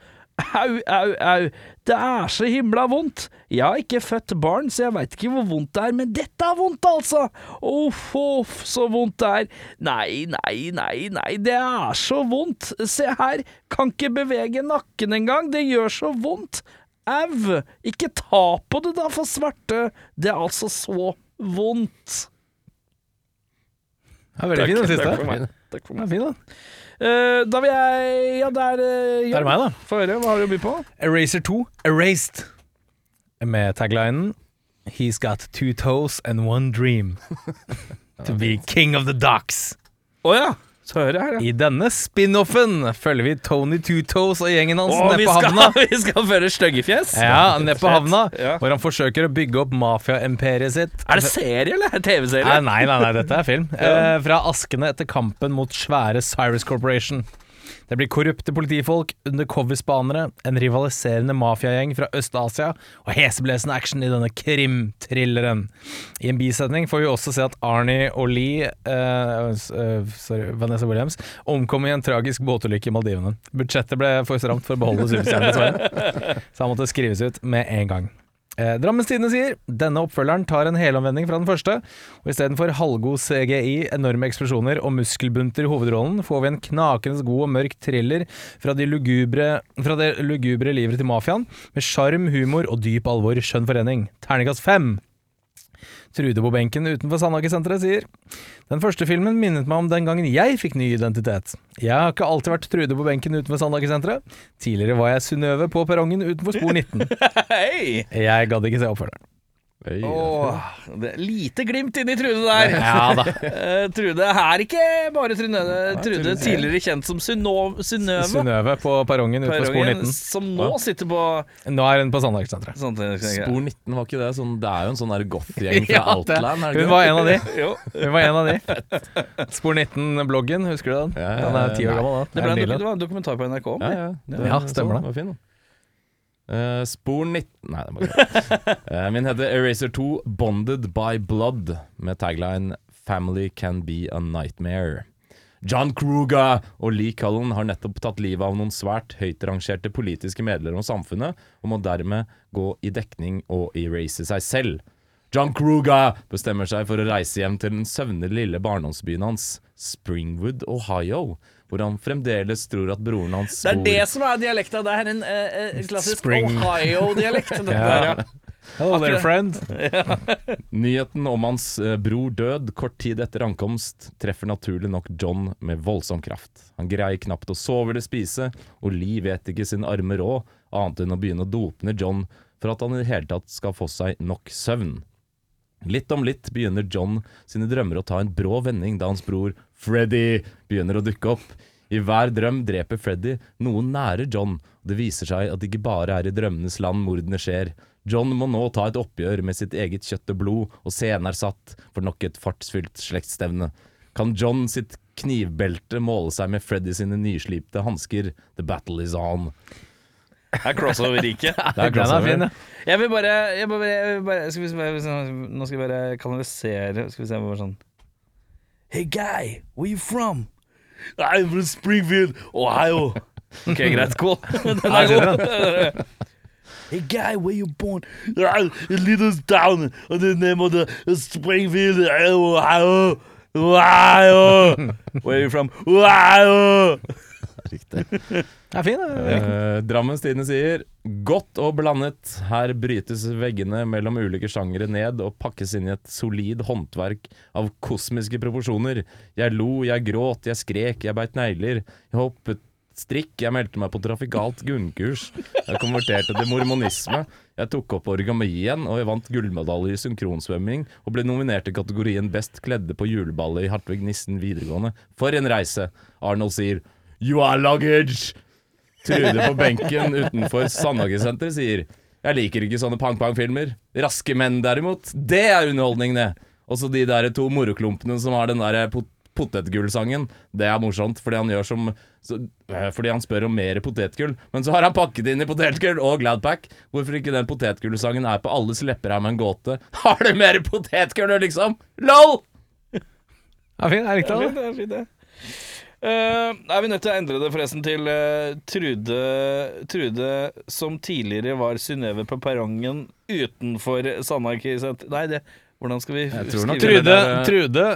Speaker 1: Au, au, au. Det er så himla vondt. Jeg har ikke født barn, så jeg veit ikke hvor vondt det er, men dette er vondt, altså. Uff, uff, så vondt det er. Nei, nei, nei, nei, det er så vondt. Se her, kan ikke bevege nakken engang, det gjør så vondt. Au, ikke ta på det da, for svarte. Det er altså så vondt.
Speaker 2: Ja, veldig fin den siste.
Speaker 1: for meg. Takk for
Speaker 2: Den
Speaker 1: meg.
Speaker 2: er fin, da.
Speaker 1: Eh, da vil jeg Ja, det er uh,
Speaker 2: Det er meg, da.
Speaker 1: Få høre, hva har du å by på?
Speaker 2: Eraser 2, Erased. Med taglinen He's got two toes and one dream. to be king of the docks.
Speaker 1: Å ja. Så hører jeg her, ja.
Speaker 2: I denne spin-offen følger vi Tony Two Toes og gjengen hans
Speaker 1: Å,
Speaker 2: nede
Speaker 1: vi
Speaker 2: på
Speaker 1: skal,
Speaker 2: havna.
Speaker 1: vi skal føre styggefjes?
Speaker 2: Ja, nede på havna,
Speaker 1: Ja.
Speaker 2: hvor han forsøker å bygge opp mafia-imperiet sitt.
Speaker 1: Er det serie, eller? Er det
Speaker 2: Eh, Nei,
Speaker 1: TV-serie?
Speaker 2: nei, nei, nei, dette er film. Eh, fra askene etter kampen mot svære Cyrus Corporation. Det blir korrupte politifolk, undercover-spanere, en rivaliserende mafiagjeng fra Øst-Asia og heseblesende action i denne krim-thrilleren. I en bisetning får vi også se at Arnie og Lee, eh, s- eh, sorry, Vanessa Williams, omkom i en tragisk båtulykke i Maldivene. Budsjettet ble for stramt for å beholde superstjernen, dessverre. Så han måtte skrives ut med en gang. Eh, Drammens Tidende sier denne oppfølgeren tar en helomvending fra den første, og istedenfor halvgod CGI, enorme eksplosjoner og muskelbunter i hovedrollen, får vi en knakende god og mørk thriller fra, de lugubre, fra det lugubre livet til mafiaen, med sjarm, humor og dyp alvor, skjønn forening. Terningkast fem! Trude på benken utenfor Sandaker-senteret sier Den første filmen minnet meg om den gangen jeg fikk ny identitet. Jeg har ikke alltid vært Trude på benken utenfor Sandaker-senteret. Tidligere var jeg Synnøve på perrongen utenfor spor 19.
Speaker 1: Hei!
Speaker 2: Jeg gadd ikke se oppfølgeren.
Speaker 4: Oi,
Speaker 1: Åh, det er lite glimt inni Trude der.
Speaker 2: da.
Speaker 1: Eh, Trude er ikke bare Trude, Trude tidligere kjent som Synnø- Synnøve
Speaker 2: Synnøve på perrongen utenfor spor
Speaker 1: Perrongen,
Speaker 2: 19.
Speaker 1: som nå sitter på
Speaker 2: Nå er hun på Sandaker-senteret.
Speaker 1: sånt,
Speaker 4: Spor 19 var ikke det sånn, Det er jo en sånn der goth-gjeng fra
Speaker 2: Ja, det-
Speaker 4: Outland, er det
Speaker 2: Hun
Speaker 4: ikke
Speaker 2: var
Speaker 4: det?
Speaker 2: en av de.
Speaker 1: Jo.
Speaker 2: Hun var en av de. Spor 19-bloggen, husker du den?
Speaker 4: Ja, ja,
Speaker 2: Den er ti år
Speaker 4: nei.
Speaker 2: gammel da.
Speaker 1: Det, ble en,
Speaker 2: en
Speaker 1: dok-
Speaker 2: bil,
Speaker 1: det var en dokumentar på NRK om
Speaker 4: Ja,
Speaker 1: det.
Speaker 4: ja, det
Speaker 2: Ja,
Speaker 4: var-
Speaker 2: stemmer det.
Speaker 4: var fin, da. Eh, spor 19 Nei, det var ikke det. Eh, min heter Eraser 2 Bonded by Blood, med tagline 'Family can be a nightmare'. John Kruger og Lee Cullen har nettopp tatt livet av noen svært høyt rangerte politiske medlemmer av samfunnet, og må dermed gå i dekning og erase seg selv. John Kruger bestemmer seg for å reise hjem til den søvnige lille barndomsbyen hans, Springwood, Ohio, hvor han fremdeles tror at broren hans
Speaker 1: Det er
Speaker 4: bor
Speaker 1: det som er dialekta. Det er en eh, eh, klassisk
Speaker 2: Spring.
Speaker 1: Ohio-dialekt. dette
Speaker 2: Ja.
Speaker 1: der, ja.
Speaker 2: Hello there, friend.
Speaker 4: Nyheten om hans eh, bror død kort tid etter ankomst treffer naturlig nok John med voldsom kraft. Han greier knapt å sove eller spise, og Lee vet ikke sin arme råd, annet enn å begynne å dope ned John for at han i det hele tatt skal få seg nok søvn. Litt om litt begynner John sine drømmer å ta en brå vending da hans bror Freddy begynner å dukke opp. I hver drøm dreper Freddy noen nære John, og det viser seg at det ikke bare er i drømmenes land mordene skjer. John må nå ta et oppgjør med sitt eget kjøtt og blod, og scenen er satt for nok et fartsfylt slektsstevne. Kan John sitt knivbelte måle seg med Freddy sine nyslipte hansker? The battle is on.
Speaker 1: Det er crossover-riket.
Speaker 4: Det
Speaker 2: Den er fin, ja.
Speaker 1: Jeg vil bare, jeg bare, jeg vil bare skal vi, se- Nå skal vi bare kanalisere Skal vi se bare sånn Hey guy, where you from? I'm from Springfield, Ohio Ok, greit, cool Den er god Hey guy, where you born? A Ah, little town on the name of the Springfield, Ohio Ohio Where you from? Ohio
Speaker 4: riktig.
Speaker 2: Det er fin, det.
Speaker 4: Eh, Drammens Tidende sier Godt og blandet. Her brytes veggene mellom ulike sjangere ned og pakkes inn i et solid håndverk av kosmiske proporsjoner. Jeg lo, jeg gråt, jeg skrek, jeg beit negler. Jeg hoppet strikk, jeg meldte meg på trafikalt grunnkurs. Jeg konverterte til mormonisme. Jeg tok opp origami igjen, og jeg vant gullmedalje i synkronsvømming og ble nominert til kategorien Best kledde på juleballet i Hartvig Nissen videregående. For en reise! Arnold sier You are luggage! Trude på benken utenfor Sandhagesenteret sier Jeg liker ikke sånne pang-pang-filmer. Raske menn, derimot, det er underholdning, det. Også de der to moroklumpene som har den der pot potetgullsangen. Det er morsomt, fordi han gjør som så, eh, Fordi han spør om mer potetgull, men så har han pakket inn i potetgull og Gladpack. Hvorfor ikke den potetgullsangen er på alles lepper er med en gåte? Har du mer potetgull, liksom? LOL!
Speaker 2: Det er fin, jeg likte det.
Speaker 1: Det er fint, det. Eh, er vi nødt til å endre det forresten til eh, Trude, Trude som tidligere var Synnøve på perrongen utenfor Sandmarkisenteret Nei, det Hvordan skal vi
Speaker 4: Jeg tror nok
Speaker 1: skrive
Speaker 2: Trude,
Speaker 1: det?
Speaker 2: Trude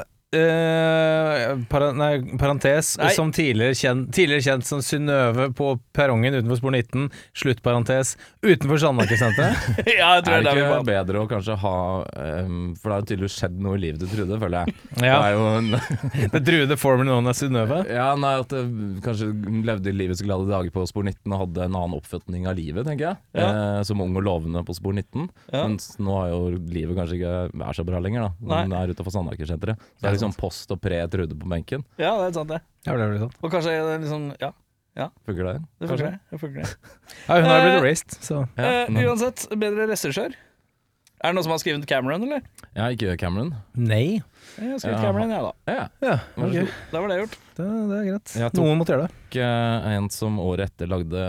Speaker 2: eh, para, nei, parentes,
Speaker 1: Nei.
Speaker 2: som tidligere kjent, tidligere kjent som Synnøve på perrongen utenfor spor 19, sluttparentes, utenfor Sandmarkesenteret.
Speaker 1: ja, jeg tror det
Speaker 4: Er det
Speaker 1: er der vi
Speaker 4: ikke
Speaker 1: var.
Speaker 4: bedre å kanskje ha ehm, For det har jo tydeligvis skjedd noe i livet til Trude, føler jeg.
Speaker 2: Ja.
Speaker 4: Det er jo en,
Speaker 2: Det er Trude formerly known as Synnøve.
Speaker 4: ja, nei, at det, Kanskje hun levde livets glade dager på spor 19 og hadde en annen oppfatning av livet, tenker jeg.
Speaker 1: Ja.
Speaker 4: Eh, som ung og lovende på spor 19.
Speaker 1: Ja.
Speaker 4: Mens nå har jo livet kanskje ikke er så bra lenger, da. Hun er utafor Sandaker-senteret. Så det er liksom post og pre Trude på benken.
Speaker 1: Ja, det er sant, det.
Speaker 2: Ja, det blir sånn.
Speaker 1: Og kanskje det er liksom Ja,
Speaker 4: Funker det?
Speaker 1: det funker, det. det. Funker det.
Speaker 2: ja hun har
Speaker 1: Eh,
Speaker 2: blitt raced, så
Speaker 1: Eh,
Speaker 4: nå-
Speaker 1: uansett, bedre regissør. Er det noen som har skrevet Cameron, eller?
Speaker 4: ja ikke Cameron.
Speaker 2: Nei.
Speaker 1: Jeg har skrevet
Speaker 4: Ja.
Speaker 1: Cameron, jeg, da.
Speaker 4: Ja,
Speaker 2: Ja,
Speaker 4: vær så
Speaker 2: ok.
Speaker 4: god.
Speaker 1: Da var det gjort.
Speaker 2: Det, det er greit.
Speaker 4: Jeg tok-
Speaker 2: Noen måtte gjøre det.
Speaker 4: ikke eh, en som året etter lagde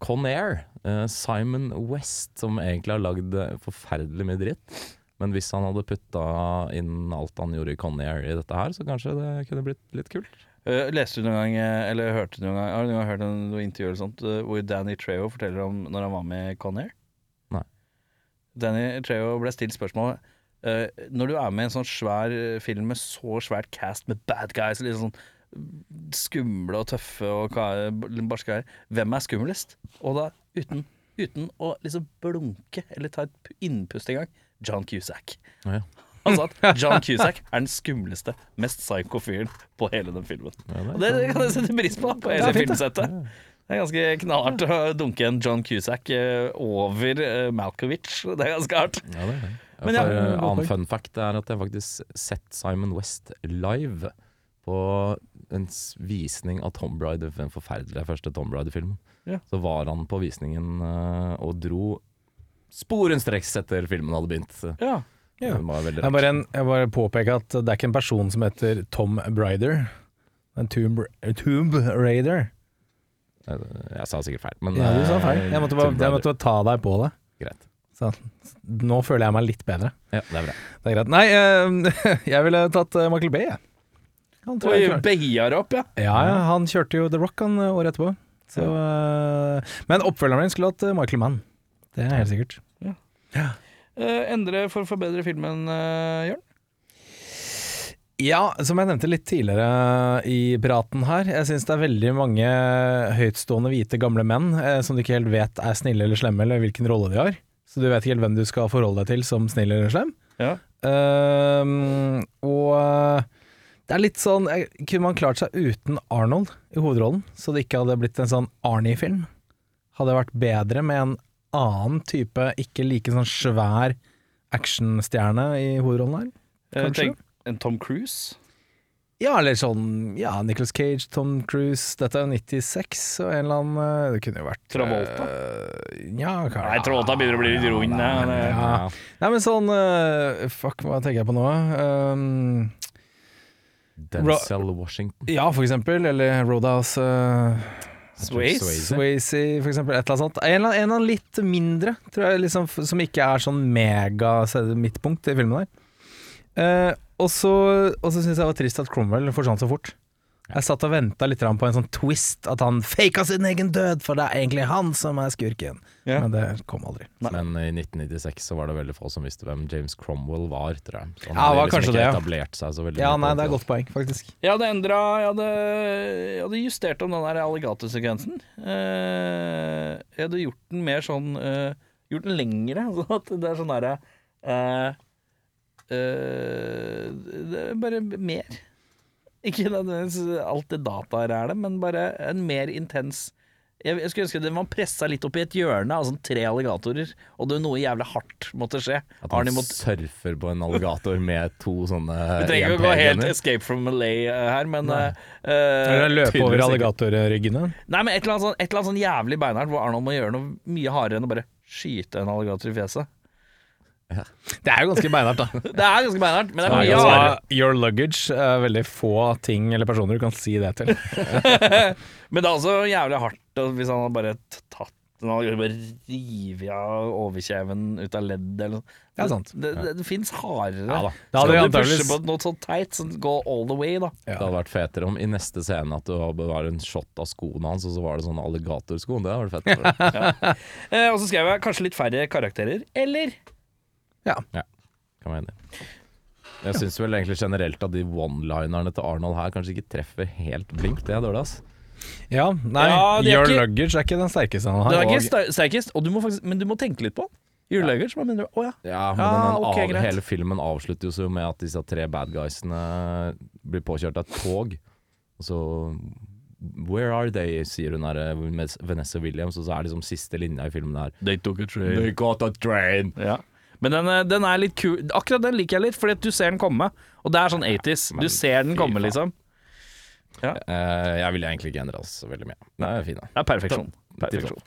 Speaker 4: Con Air. eh, Simon West, som egentlig har lagd eh, forferdelig mye dritt. Men hvis han hadde putta inn alt han gjorde i Con Air i dette her, så kanskje det kunne blitt litt kult.
Speaker 1: Eh, leste du noen gang, eh, eller hørte du noen gang, har du noen gang hørt en- noe intervju eller sånt, eh, hvor Danny Trejo forteller om når han var med Conair?
Speaker 4: Nei.
Speaker 1: Danny Trejo ble stilt spørsmålet eh, Når du er med i en sånn svær eh, film med så svært cast med bad guys, litt sånn skumle og tøffe og ka- barske greier, hvem er skumlest? Og da uten, uten å liksom blunke eller ta et p- innpust engang, John Cusack.
Speaker 4: Ja, ja.
Speaker 1: Han sa Altså at John Cusack er den skumleste, mest psycho fyren på hele den filmen.
Speaker 4: Ja, det er
Speaker 1: Og det kan jeg sette pris på, på hele
Speaker 2: Det er fint, det.
Speaker 1: filmsettet. Det er ganske knallhardt å dunke en John Cusack eh, over eh, Malkovich. Det er ganske hardt.
Speaker 4: Ja, det er det.
Speaker 1: Men ja,
Speaker 4: For, eh,
Speaker 2: godt
Speaker 4: annen
Speaker 2: poeng.
Speaker 4: fun fact er at jeg faktisk sett Simon West live på en s- visning av Tom Bride, den forferdelige første Tom Bride-filmen.
Speaker 1: Ja.
Speaker 4: Så var han på visningen eh, og dro sporenstreks etter filmen hadde begynt.
Speaker 1: Ja.
Speaker 2: Ja.
Speaker 4: Det var veldig
Speaker 2: Jeg
Speaker 4: rart.
Speaker 2: bare, jeg bare påpeker at det er ikke en person som heter Tom Brider. En Tomb, eh, Tomb Raider.
Speaker 4: Jeg, Eh, jeg sa sikkert feil, men
Speaker 2: Ja, du sa
Speaker 4: eh,
Speaker 2: feil. Jeg måtte bare,
Speaker 4: Tomb
Speaker 2: jeg
Speaker 4: Raider.
Speaker 2: måtte bare ta deg på det.
Speaker 4: Greit.
Speaker 2: Nå føler jeg meg litt bedre.
Speaker 4: Ja, det er bra.
Speaker 2: Det er greit. Nei, eh, jeg ville tatt eh, Michael Bay, jeg. Han, tror jeg
Speaker 1: Oi,
Speaker 2: klarte-
Speaker 1: beier opp, ja.
Speaker 2: ja, ja, han kjørte jo The Rock han eh, året etterpå. Så, eh, men oppfølgeren min skulle hatt eh, Michael Mann. Det er helt sikkert.
Speaker 1: Eh, endre for å forbedre filmen, eh, Jørn.
Speaker 2: Ja, som jeg nevnte litt tidligere i praten her, jeg syns det er veldig mange høytstående hvite gamle menn eh, som du ikke helt vet er snille eller slemme, eller hvilken rolle de har. Så du vet ikke helt hvem du skal forholde deg til som snill eller slem.
Speaker 1: Ja.
Speaker 2: Ehm, og eh, det er litt sånn eh, Kunne man klart seg uten Arnold i hovedrollen, så det ikke hadde blitt en sånn Arnie-film? Hadde det vært bedre med en annen type, ikke like sånn svær actionstjerne i hovedrollen her?
Speaker 1: Eh,
Speaker 2: Kanskje.
Speaker 1: tenk, en Tom Cruise.
Speaker 2: Ja, eller sånn Ja, Nicholas Cage, Tom Cruise Dette er jo 96, og en eller annen eh, Det kunne jo vært
Speaker 1: Travolta.
Speaker 2: eh, Ja, hva
Speaker 1: Nei, Travolta begynner å bli litt rund. ja, det-
Speaker 2: Ja. Nei, men sånn eh, Fuck, hva tenker jeg på nå? Um,
Speaker 4: Denzel Washington.
Speaker 2: ja, for eksempel. Eller Roadhouse eh,
Speaker 1: Swayze.
Speaker 2: Swayze, for eksempel. Et eller annet sånt. En eller annen, en eller annen litt mindre, tror jeg, liksom, f- som ikke er sånn mega se- midtpunkt i filmen der. Eh, og så og så syns jeg det var trist at Cromwell forsvant så fort. Jeg satt og venta litt grann på en sånn twist, at han faka sin egen død, for det er egentlig han som er skurken.
Speaker 1: Ja.
Speaker 2: Men det kom aldri.
Speaker 4: Men i 1996 så var det veldig få som visste hvem James Cromwell var, tror jeg. Så
Speaker 2: Ja, det
Speaker 4: han
Speaker 2: var
Speaker 4: hadde liksom
Speaker 2: kanskje
Speaker 4: ikke
Speaker 2: det, ja.
Speaker 4: etablert seg så veldig
Speaker 2: Ja,
Speaker 4: mye på
Speaker 2: nei,
Speaker 4: den
Speaker 2: det er
Speaker 4: tiden.
Speaker 2: et godt poeng, faktisk.
Speaker 1: Jeg hadde endra jeg hadde, jeg hadde justert om den der alligatorsekvensen. Eh, jeg hadde gjort den mer sånn eh, Gjort den lengre, sånn at det er sånn derre eh, eh, det er Bare mer. Ikke nødvendigvis alt det dataer er det, men bare en mer intens jeg, jeg skulle ønske det man pressa litt opp i et hjørne av sånn tre alligatorer, og det noe jævlig hardt måtte skje.
Speaker 4: At han
Speaker 1: Arnie måtte
Speaker 4: surfer på en alligator med to sånne
Speaker 1: Vi trenger ikke å gå helt Escape from Malay eh, her, men eh,
Speaker 2: Eller løpe over
Speaker 4: tydeligvis ikke.
Speaker 2: alligatorryggene.
Speaker 1: Nei, men et eller annet sånn, et eller annet sånn jævlig beinhardt hvor Arnold må gjøre noe mye hardere enn å bare skyte en alligator i fjeset.
Speaker 2: Det er jo ganske beinhardt, da.
Speaker 1: Det er ganske beinhardt, men det er
Speaker 2: Nei,
Speaker 1: mye
Speaker 2: altså,
Speaker 1: hardere.
Speaker 2: Your luggage er veldig få ting eller personer du kan si det til.
Speaker 1: Men det er også jævlig hardt og hvis han hadde bare t- tatt en alligator og bare revet av overkjeven ut av ledd eller noe.
Speaker 2: Det er sant.
Speaker 1: Det, det, det fins hardere.
Speaker 4: Ja da.
Speaker 2: Da
Speaker 1: Skal
Speaker 2: hadde
Speaker 1: du
Speaker 2: vi
Speaker 1: pushe
Speaker 2: antageligvis-
Speaker 1: på noe sånn teit, sånn go all the way, da.
Speaker 4: Det hadde vært fetere om i neste scene at det var- det var en shot av skoene hans, og så var det sånne alligatorsko. Det hadde vært fett. for det.
Speaker 1: Eh, og så skrev jeg kanskje litt færre karakterer. Eller
Speaker 4: Kan være enig. Jeg syns vel egentlig generelt at de one-linerne til Arnold her kanskje ikke treffer helt blink. Det er dårlig, ass.
Speaker 2: Ja, nei,
Speaker 1: Ja, det er
Speaker 2: Your
Speaker 1: ikke-
Speaker 2: luggage er ikke den sterkeste han
Speaker 1: Den
Speaker 2: har.
Speaker 1: er ikke
Speaker 2: og-
Speaker 1: ster- sterkest, og du må faktisk, men du må tenke litt på den. Julelager, så bare mener du Å ja.
Speaker 4: Ja, men
Speaker 1: Ja,
Speaker 4: den
Speaker 1: ok,
Speaker 4: av,
Speaker 1: greit.
Speaker 4: hele filmen avslutter jo så med at disse tre bad guysene blir påkjørt av et tog. Og så Where are they, sier hun her med Vanessa Williams, og så er liksom siste linja i filmen her
Speaker 1: They took a train.
Speaker 4: They got a train!
Speaker 1: Ja. Men den, eh, den er litt kul. Akkurat den liker jeg litt, fordi at du ser den komme. Og det er sånn 80s. Du
Speaker 4: men
Speaker 1: ser den
Speaker 4: fy
Speaker 1: komme,
Speaker 4: faen.
Speaker 1: liksom.
Speaker 4: Eh, jeg ville egentlig ikke endre oss så veldig mye. Det er fin, da.
Speaker 1: Det er perfeksjon.
Speaker 4: Perfeksjon.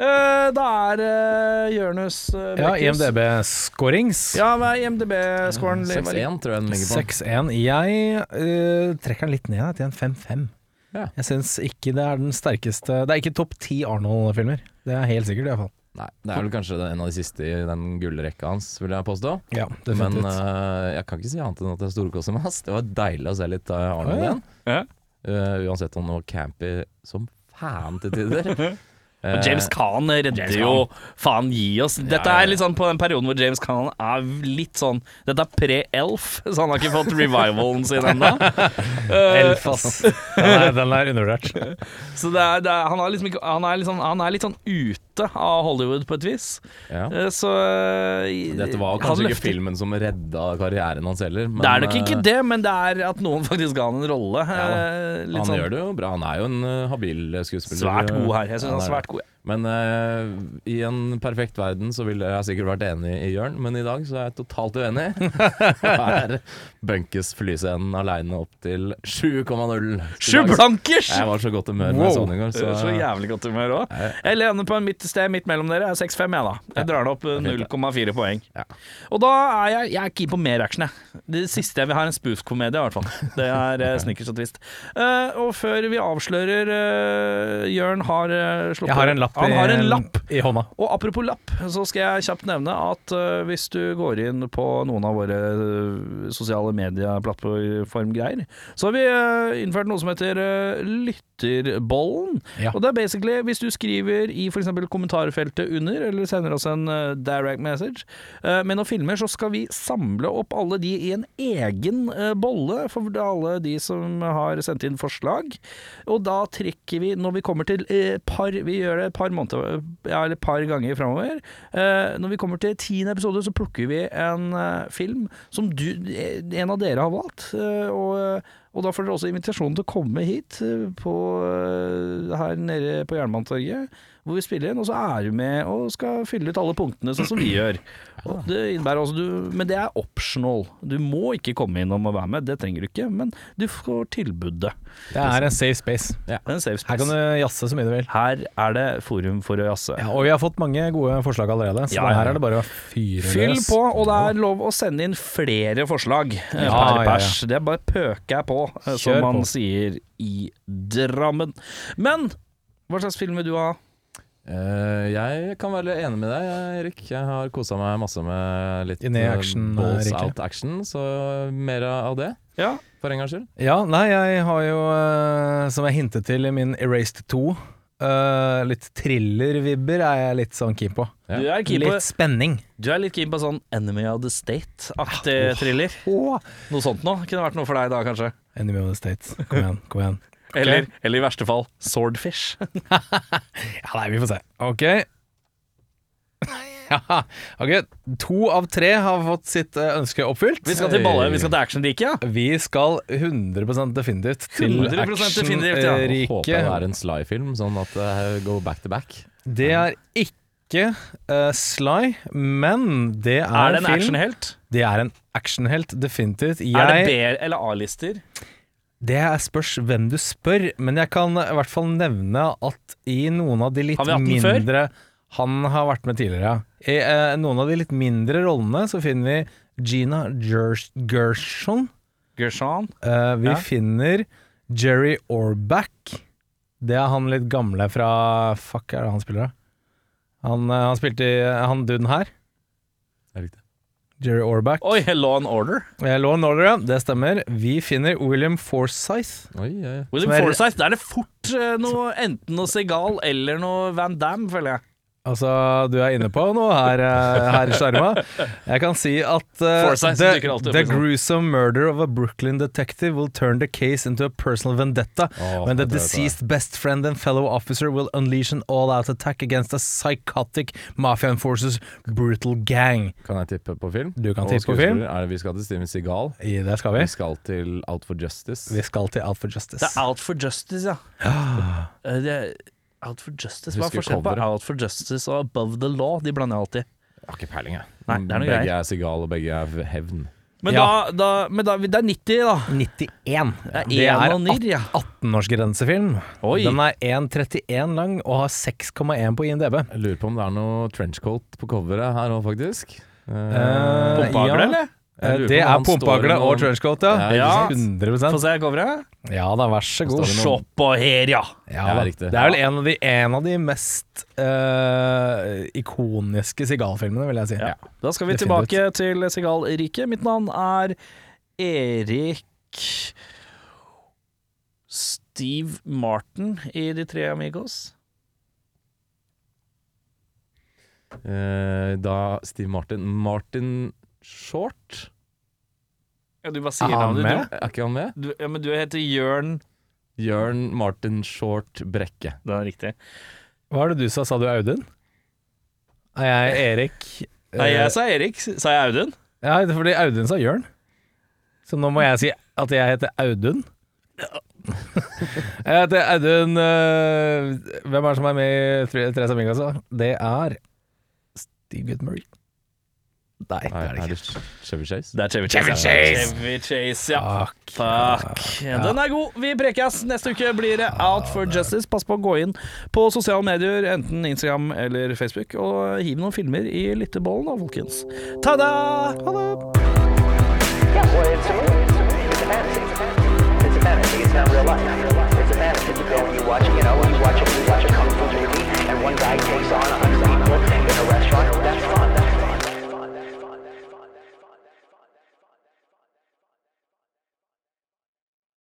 Speaker 1: Eh, da er uh, Jørnus uh,
Speaker 2: Ja, IMDb-scorings.
Speaker 1: Ja, hva er IMDb-scoren?
Speaker 4: 6-1 tror jeg den ligger på.
Speaker 2: 6-1. Jeg eh, trekker den litt ned da, til en 5-5.
Speaker 4: Ja.
Speaker 2: Jeg syns ikke det er den sterkeste Det er ikke topp ti Arnold-filmer. Det er helt sikkert, iallfall.
Speaker 4: Nei, det er vel kanskje en av de siste i den gullrekka hans, vil jeg påstå.
Speaker 2: Ja,
Speaker 4: Men
Speaker 2: definitivt.
Speaker 4: eh, jeg kan ikke si annet enn at jeg storkoser meg. ass. Det var deilig å se litt av Arnold
Speaker 2: Ja, ja.
Speaker 4: igjen. Eh, uansett om han var campy som faen til tider. Eh,
Speaker 1: James Khan redder jo Faen, gi oss. Dette
Speaker 4: ja, ja.
Speaker 1: er litt sånn på den perioden hvor James Khan er litt sånn Dette er pre-Elf, så han har ikke fått revivalen sin ennå. Eh,
Speaker 2: Elf, ass. Den er, den er undervurdert.
Speaker 1: Så det er, det er, han, er liksom ikke, han, er litt sånn- han er litt sånn ute av Hollywood på et vis.
Speaker 4: ja.
Speaker 1: Eh, Så
Speaker 4: Dette var kanskje ikke filmen som redda karrieren hans heller. Men,
Speaker 1: Det er nok
Speaker 4: eh,
Speaker 1: ikke det, men det er at noen faktisk ga han en rolle.
Speaker 4: da.
Speaker 1: eh, litt
Speaker 4: Han
Speaker 1: sånn
Speaker 4: gjør det jo bra. Han er jo en eh, habil skuespiller.
Speaker 1: svært god her. Jeg synes han er
Speaker 4: det.
Speaker 1: svært god.
Speaker 4: Men eh, i en perfekt verden så ville jeg sikkert vært enig i Jørn, men i dag så er jeg totalt uenig. Her bunkes flyscenen aleine opp til 7,0.
Speaker 1: Sju
Speaker 4: I dag-
Speaker 1: blankers!
Speaker 4: Jeg var så godt humør når jeg så
Speaker 2: Wow.
Speaker 4: den i går, så,
Speaker 1: Så, jævlig godt humør òg. Jeg lander på en midt sted midt mellom dere. Jeg er 6-5, jeg, da. Jeg drar det opp eh, 0,4 poeng.
Speaker 4: Ja.
Speaker 1: Og da er jeg Jeg er keen på mer action, jeg. Det siste jeg vil ha, er en spoof-komedie, i hvert fall. Det er eh, snickers og twist. Eh, og før vi avslører eh, Jørn har eh, slått
Speaker 2: Jeg har en lapp,
Speaker 1: Han har en lapp.
Speaker 2: i hånda.
Speaker 1: Og apropos lapp, så skal jeg kjapt nevne at eh, hvis du går inn på noen av våre eh, sosiale medieplattformgreier, så har vi eh, innført noe som heter eh, Lytterbollen.
Speaker 2: Ja.
Speaker 1: Og det er basically hvis du skriver i f.eks. kommentarfeltet under, eller sender oss en eh, direct message eh, med noen filmer, så skal vi samle opp alle de i en egen eh, bolle for alle de som har sendt inn forslag. Og da trekker vi, når vi kommer til eh, par Vi gjør det et par, måneder, ja, eller et par ganger framover. Eh, når vi kommer til tiende episode, så plukker vi en eh, film som du, eh, en av dere har valgt. eh, og, eh, og da får dere også invitasjonen til å komme hit eh, på, eh, her nede på Jernbanetorget, hvor vi spiller inn. Og så er du med og skal fylle ut alle punktene, sånn som vi gjør. Og det innebærer også du, men det er optional. Du må ikke komme innom og være med, det trenger du ikke. Men du får tilbudet.
Speaker 2: Det er en safe space.
Speaker 1: Det er en safe space.
Speaker 2: Her kan du jazze så mye du vil.
Speaker 1: Her er det forum for å jazze.
Speaker 2: Ja, og vi har fått mange gode forslag allerede, så
Speaker 1: Ja, ja, ja.
Speaker 2: her er det bare å fyre
Speaker 1: Fyll
Speaker 2: løs.
Speaker 1: på, og det er lov å sende inn flere forslag eh,
Speaker 2: Ja,
Speaker 1: per
Speaker 2: ja, ja.
Speaker 1: pers. Det er bare pøker jeg på, eh,
Speaker 2: Kjør
Speaker 1: som man
Speaker 2: på.
Speaker 1: sier i Drammen. Men hva slags film vil du ha?
Speaker 4: Eh, jeg kan være enig med deg, Erik. Jeg har kosa meg masse med litt
Speaker 2: Inne i
Speaker 4: eh,
Speaker 2: action,
Speaker 4: balls
Speaker 2: Erik, ja.
Speaker 4: out action, så mer av det,
Speaker 1: Ja.
Speaker 4: for en gangs skyld.
Speaker 2: Ja, nei, jeg har jo, eh, som jeg hintet til i min Erased 2, eh, litt thriller-vibber er jeg litt sånn keen på.
Speaker 4: Ja.
Speaker 1: Du, er keen på,
Speaker 2: Litt spenning.
Speaker 1: du er litt keen på sånn Enemy of the State-aktig thriller.
Speaker 2: Åh.
Speaker 1: Noe sånt nå kunne vært noe for deg da, kanskje.
Speaker 2: Enemy of the States. Kom igjen, kom igjen.
Speaker 1: Eller, eller i verste fall Swordfish.
Speaker 2: Ja, nei, vi får se. Ok. Ja, ok, to av tre har fått sitt eh, ønske oppfylt.
Speaker 1: Vi skal til balle, vi skal til actionriket, ja.
Speaker 2: Vi skal 100 definitivt til
Speaker 1: 100% definitivt, ja.
Speaker 4: Håper det er
Speaker 2: actionriket.
Speaker 4: en sly-film, sånn at det går back to back.
Speaker 2: Det er ikke eh, Sly, men det er,
Speaker 1: Er det en
Speaker 2: film.
Speaker 1: actionhelt?
Speaker 2: Det er en actionhelt, definitivt. Jeg,
Speaker 1: Er det B- eller A-lister?
Speaker 2: Det er spørs hvem du spør, men jeg kan i hvert fall nevne at i noen av de litt
Speaker 1: Har vi hatt den før?
Speaker 2: mindre Han har vært med tidligere, ja. I eh, noen av de litt mindre rollene så finner vi Gina Gers Gershon.
Speaker 1: Gershon?
Speaker 2: Eh, vi
Speaker 1: Ja.
Speaker 2: finner Jerry Orback. Det er han litt gamle fra Fuck, er det han spiller, da? Han, eh, han spilte i Han duden her.
Speaker 4: Det er riktig.
Speaker 2: Jerry Orback.
Speaker 1: Oi, Law and Order.
Speaker 2: Eh, Law and Order, ja. Det stemmer. Vi finner William Forsythe.
Speaker 4: Oi, oi, oi.
Speaker 1: William
Speaker 2: Som er-
Speaker 1: Forsythe. Der er det fort eh, noe, enten noe Segal eller noe Van Damme, føler jeg.
Speaker 2: Altså, du er inne på noe her, eh, her skjerma. Jeg kan si at eh,
Speaker 1: Forsythe
Speaker 2: the,
Speaker 1: dukker alltid opp
Speaker 2: the
Speaker 1: i sånn.
Speaker 2: gruesome murder of a Brooklyn detective will turn the case into a personal vendetta
Speaker 4: Åh,
Speaker 2: when the
Speaker 4: det vet jeg.
Speaker 2: deceased best friend and fellow officer will unleash an all-out attack against a psychotic mafia enforcers brutal gang.
Speaker 4: Kan jeg tippe på film?
Speaker 2: Du kan
Speaker 4: Og
Speaker 2: tippe på film.
Speaker 4: skuespiller? Er det, vi skal til Steven Seagal.
Speaker 2: I det skal vi.
Speaker 4: Vi skal til Out for Justice.
Speaker 2: Vi skal til Out for Justice.
Speaker 1: Det er Out for Justice, ja. Eh, Det er Out for Justice? Hva er
Speaker 4: Husker
Speaker 1: forskjellen på
Speaker 4: coveret.
Speaker 1: Out for Justice og Above the Law? De blander jeg alltid.
Speaker 4: Jeg har ikke peiling, jeg.
Speaker 1: Nei, det er noe
Speaker 4: begge
Speaker 1: greier.
Speaker 4: er Seagal, og begge er hevn.
Speaker 1: Men,
Speaker 2: Ja.
Speaker 1: da, da, men da, det er 90, da.
Speaker 2: 91.
Speaker 1: Det er en og nirr, ja.
Speaker 2: 18-årsgrensefilm.
Speaker 1: Oi.
Speaker 2: Den er 1,31 lang og har 6,1 på INDB.
Speaker 4: Jeg lurer på om det er noe trenchcoat på coveret her òg, faktisk.
Speaker 2: Eh,
Speaker 1: Pumpehagle,
Speaker 2: ja. Eh,
Speaker 1: eller?
Speaker 4: Jeg lurer
Speaker 2: Det
Speaker 4: på om
Speaker 2: er
Speaker 4: han står
Speaker 2: pumpehagle
Speaker 4: i noen-
Speaker 2: og trenchcoat, ja.
Speaker 1: Ja, ikke
Speaker 2: 100
Speaker 1: Få se coveret.
Speaker 2: Ja da, vær så god.
Speaker 4: Står det noen-
Speaker 1: Se på her, ja.
Speaker 2: Ja,
Speaker 4: Ja,
Speaker 2: da.
Speaker 4: riktig.
Speaker 2: det er vel en av de, en av de mest eh, ikoniske sigalfilmene, vil jeg si.
Speaker 1: Ja. Da skal vi
Speaker 2: Definitivt.
Speaker 1: tilbake til Sigal-riket. Mitt navn er Erik Steve Martin i De tre amigos.
Speaker 4: Eh, da Steve Martin Martin Short?
Speaker 1: Ja, du bare
Speaker 2: Er
Speaker 1: sier
Speaker 2: han
Speaker 1: navnet.
Speaker 2: med?
Speaker 4: Er ikke han med?
Speaker 1: Du, du, ja, men du heter Jørn
Speaker 4: Jørn Martin Short Brekke.
Speaker 1: Det er riktig.
Speaker 2: Hva er det du sa? Sa du Audun? Nei, jeg er Erik. eh,
Speaker 1: Nei, jeg sa Erik. Sa jeg Audun?
Speaker 2: Ja, det er fordi Audun sa Jørn. Så nå må jeg si at jeg heter Audun. jeg heter Audun eh, Hvem er det som er med i Tre, Tre Samling, altså? Det er Steve Goodmurray. Nei, det
Speaker 4: Nei,
Speaker 2: er det ikke.
Speaker 4: Chevy Chase?
Speaker 1: Det er Chevy Chase.
Speaker 2: Chevy Chase!
Speaker 1: Chevy Chase, ja.
Speaker 2: Fuck.
Speaker 1: Takk. Den er god. Vi prekes. Neste uke blir det Out for Justice. Pass på å gå inn på sosiale medier, enten Instagram eller Facebook, og hiv noen filmer i lyttebollen da, folkens. Ta-da! Ha det!
Speaker 3: Yeah, well, it's a movie. It's a fantasy. It's a fantasy. It's not real life. It's a fantasy. You go and you watch, you know, you watch a, you watch a kung fu movie, and one guy takes on a hundred.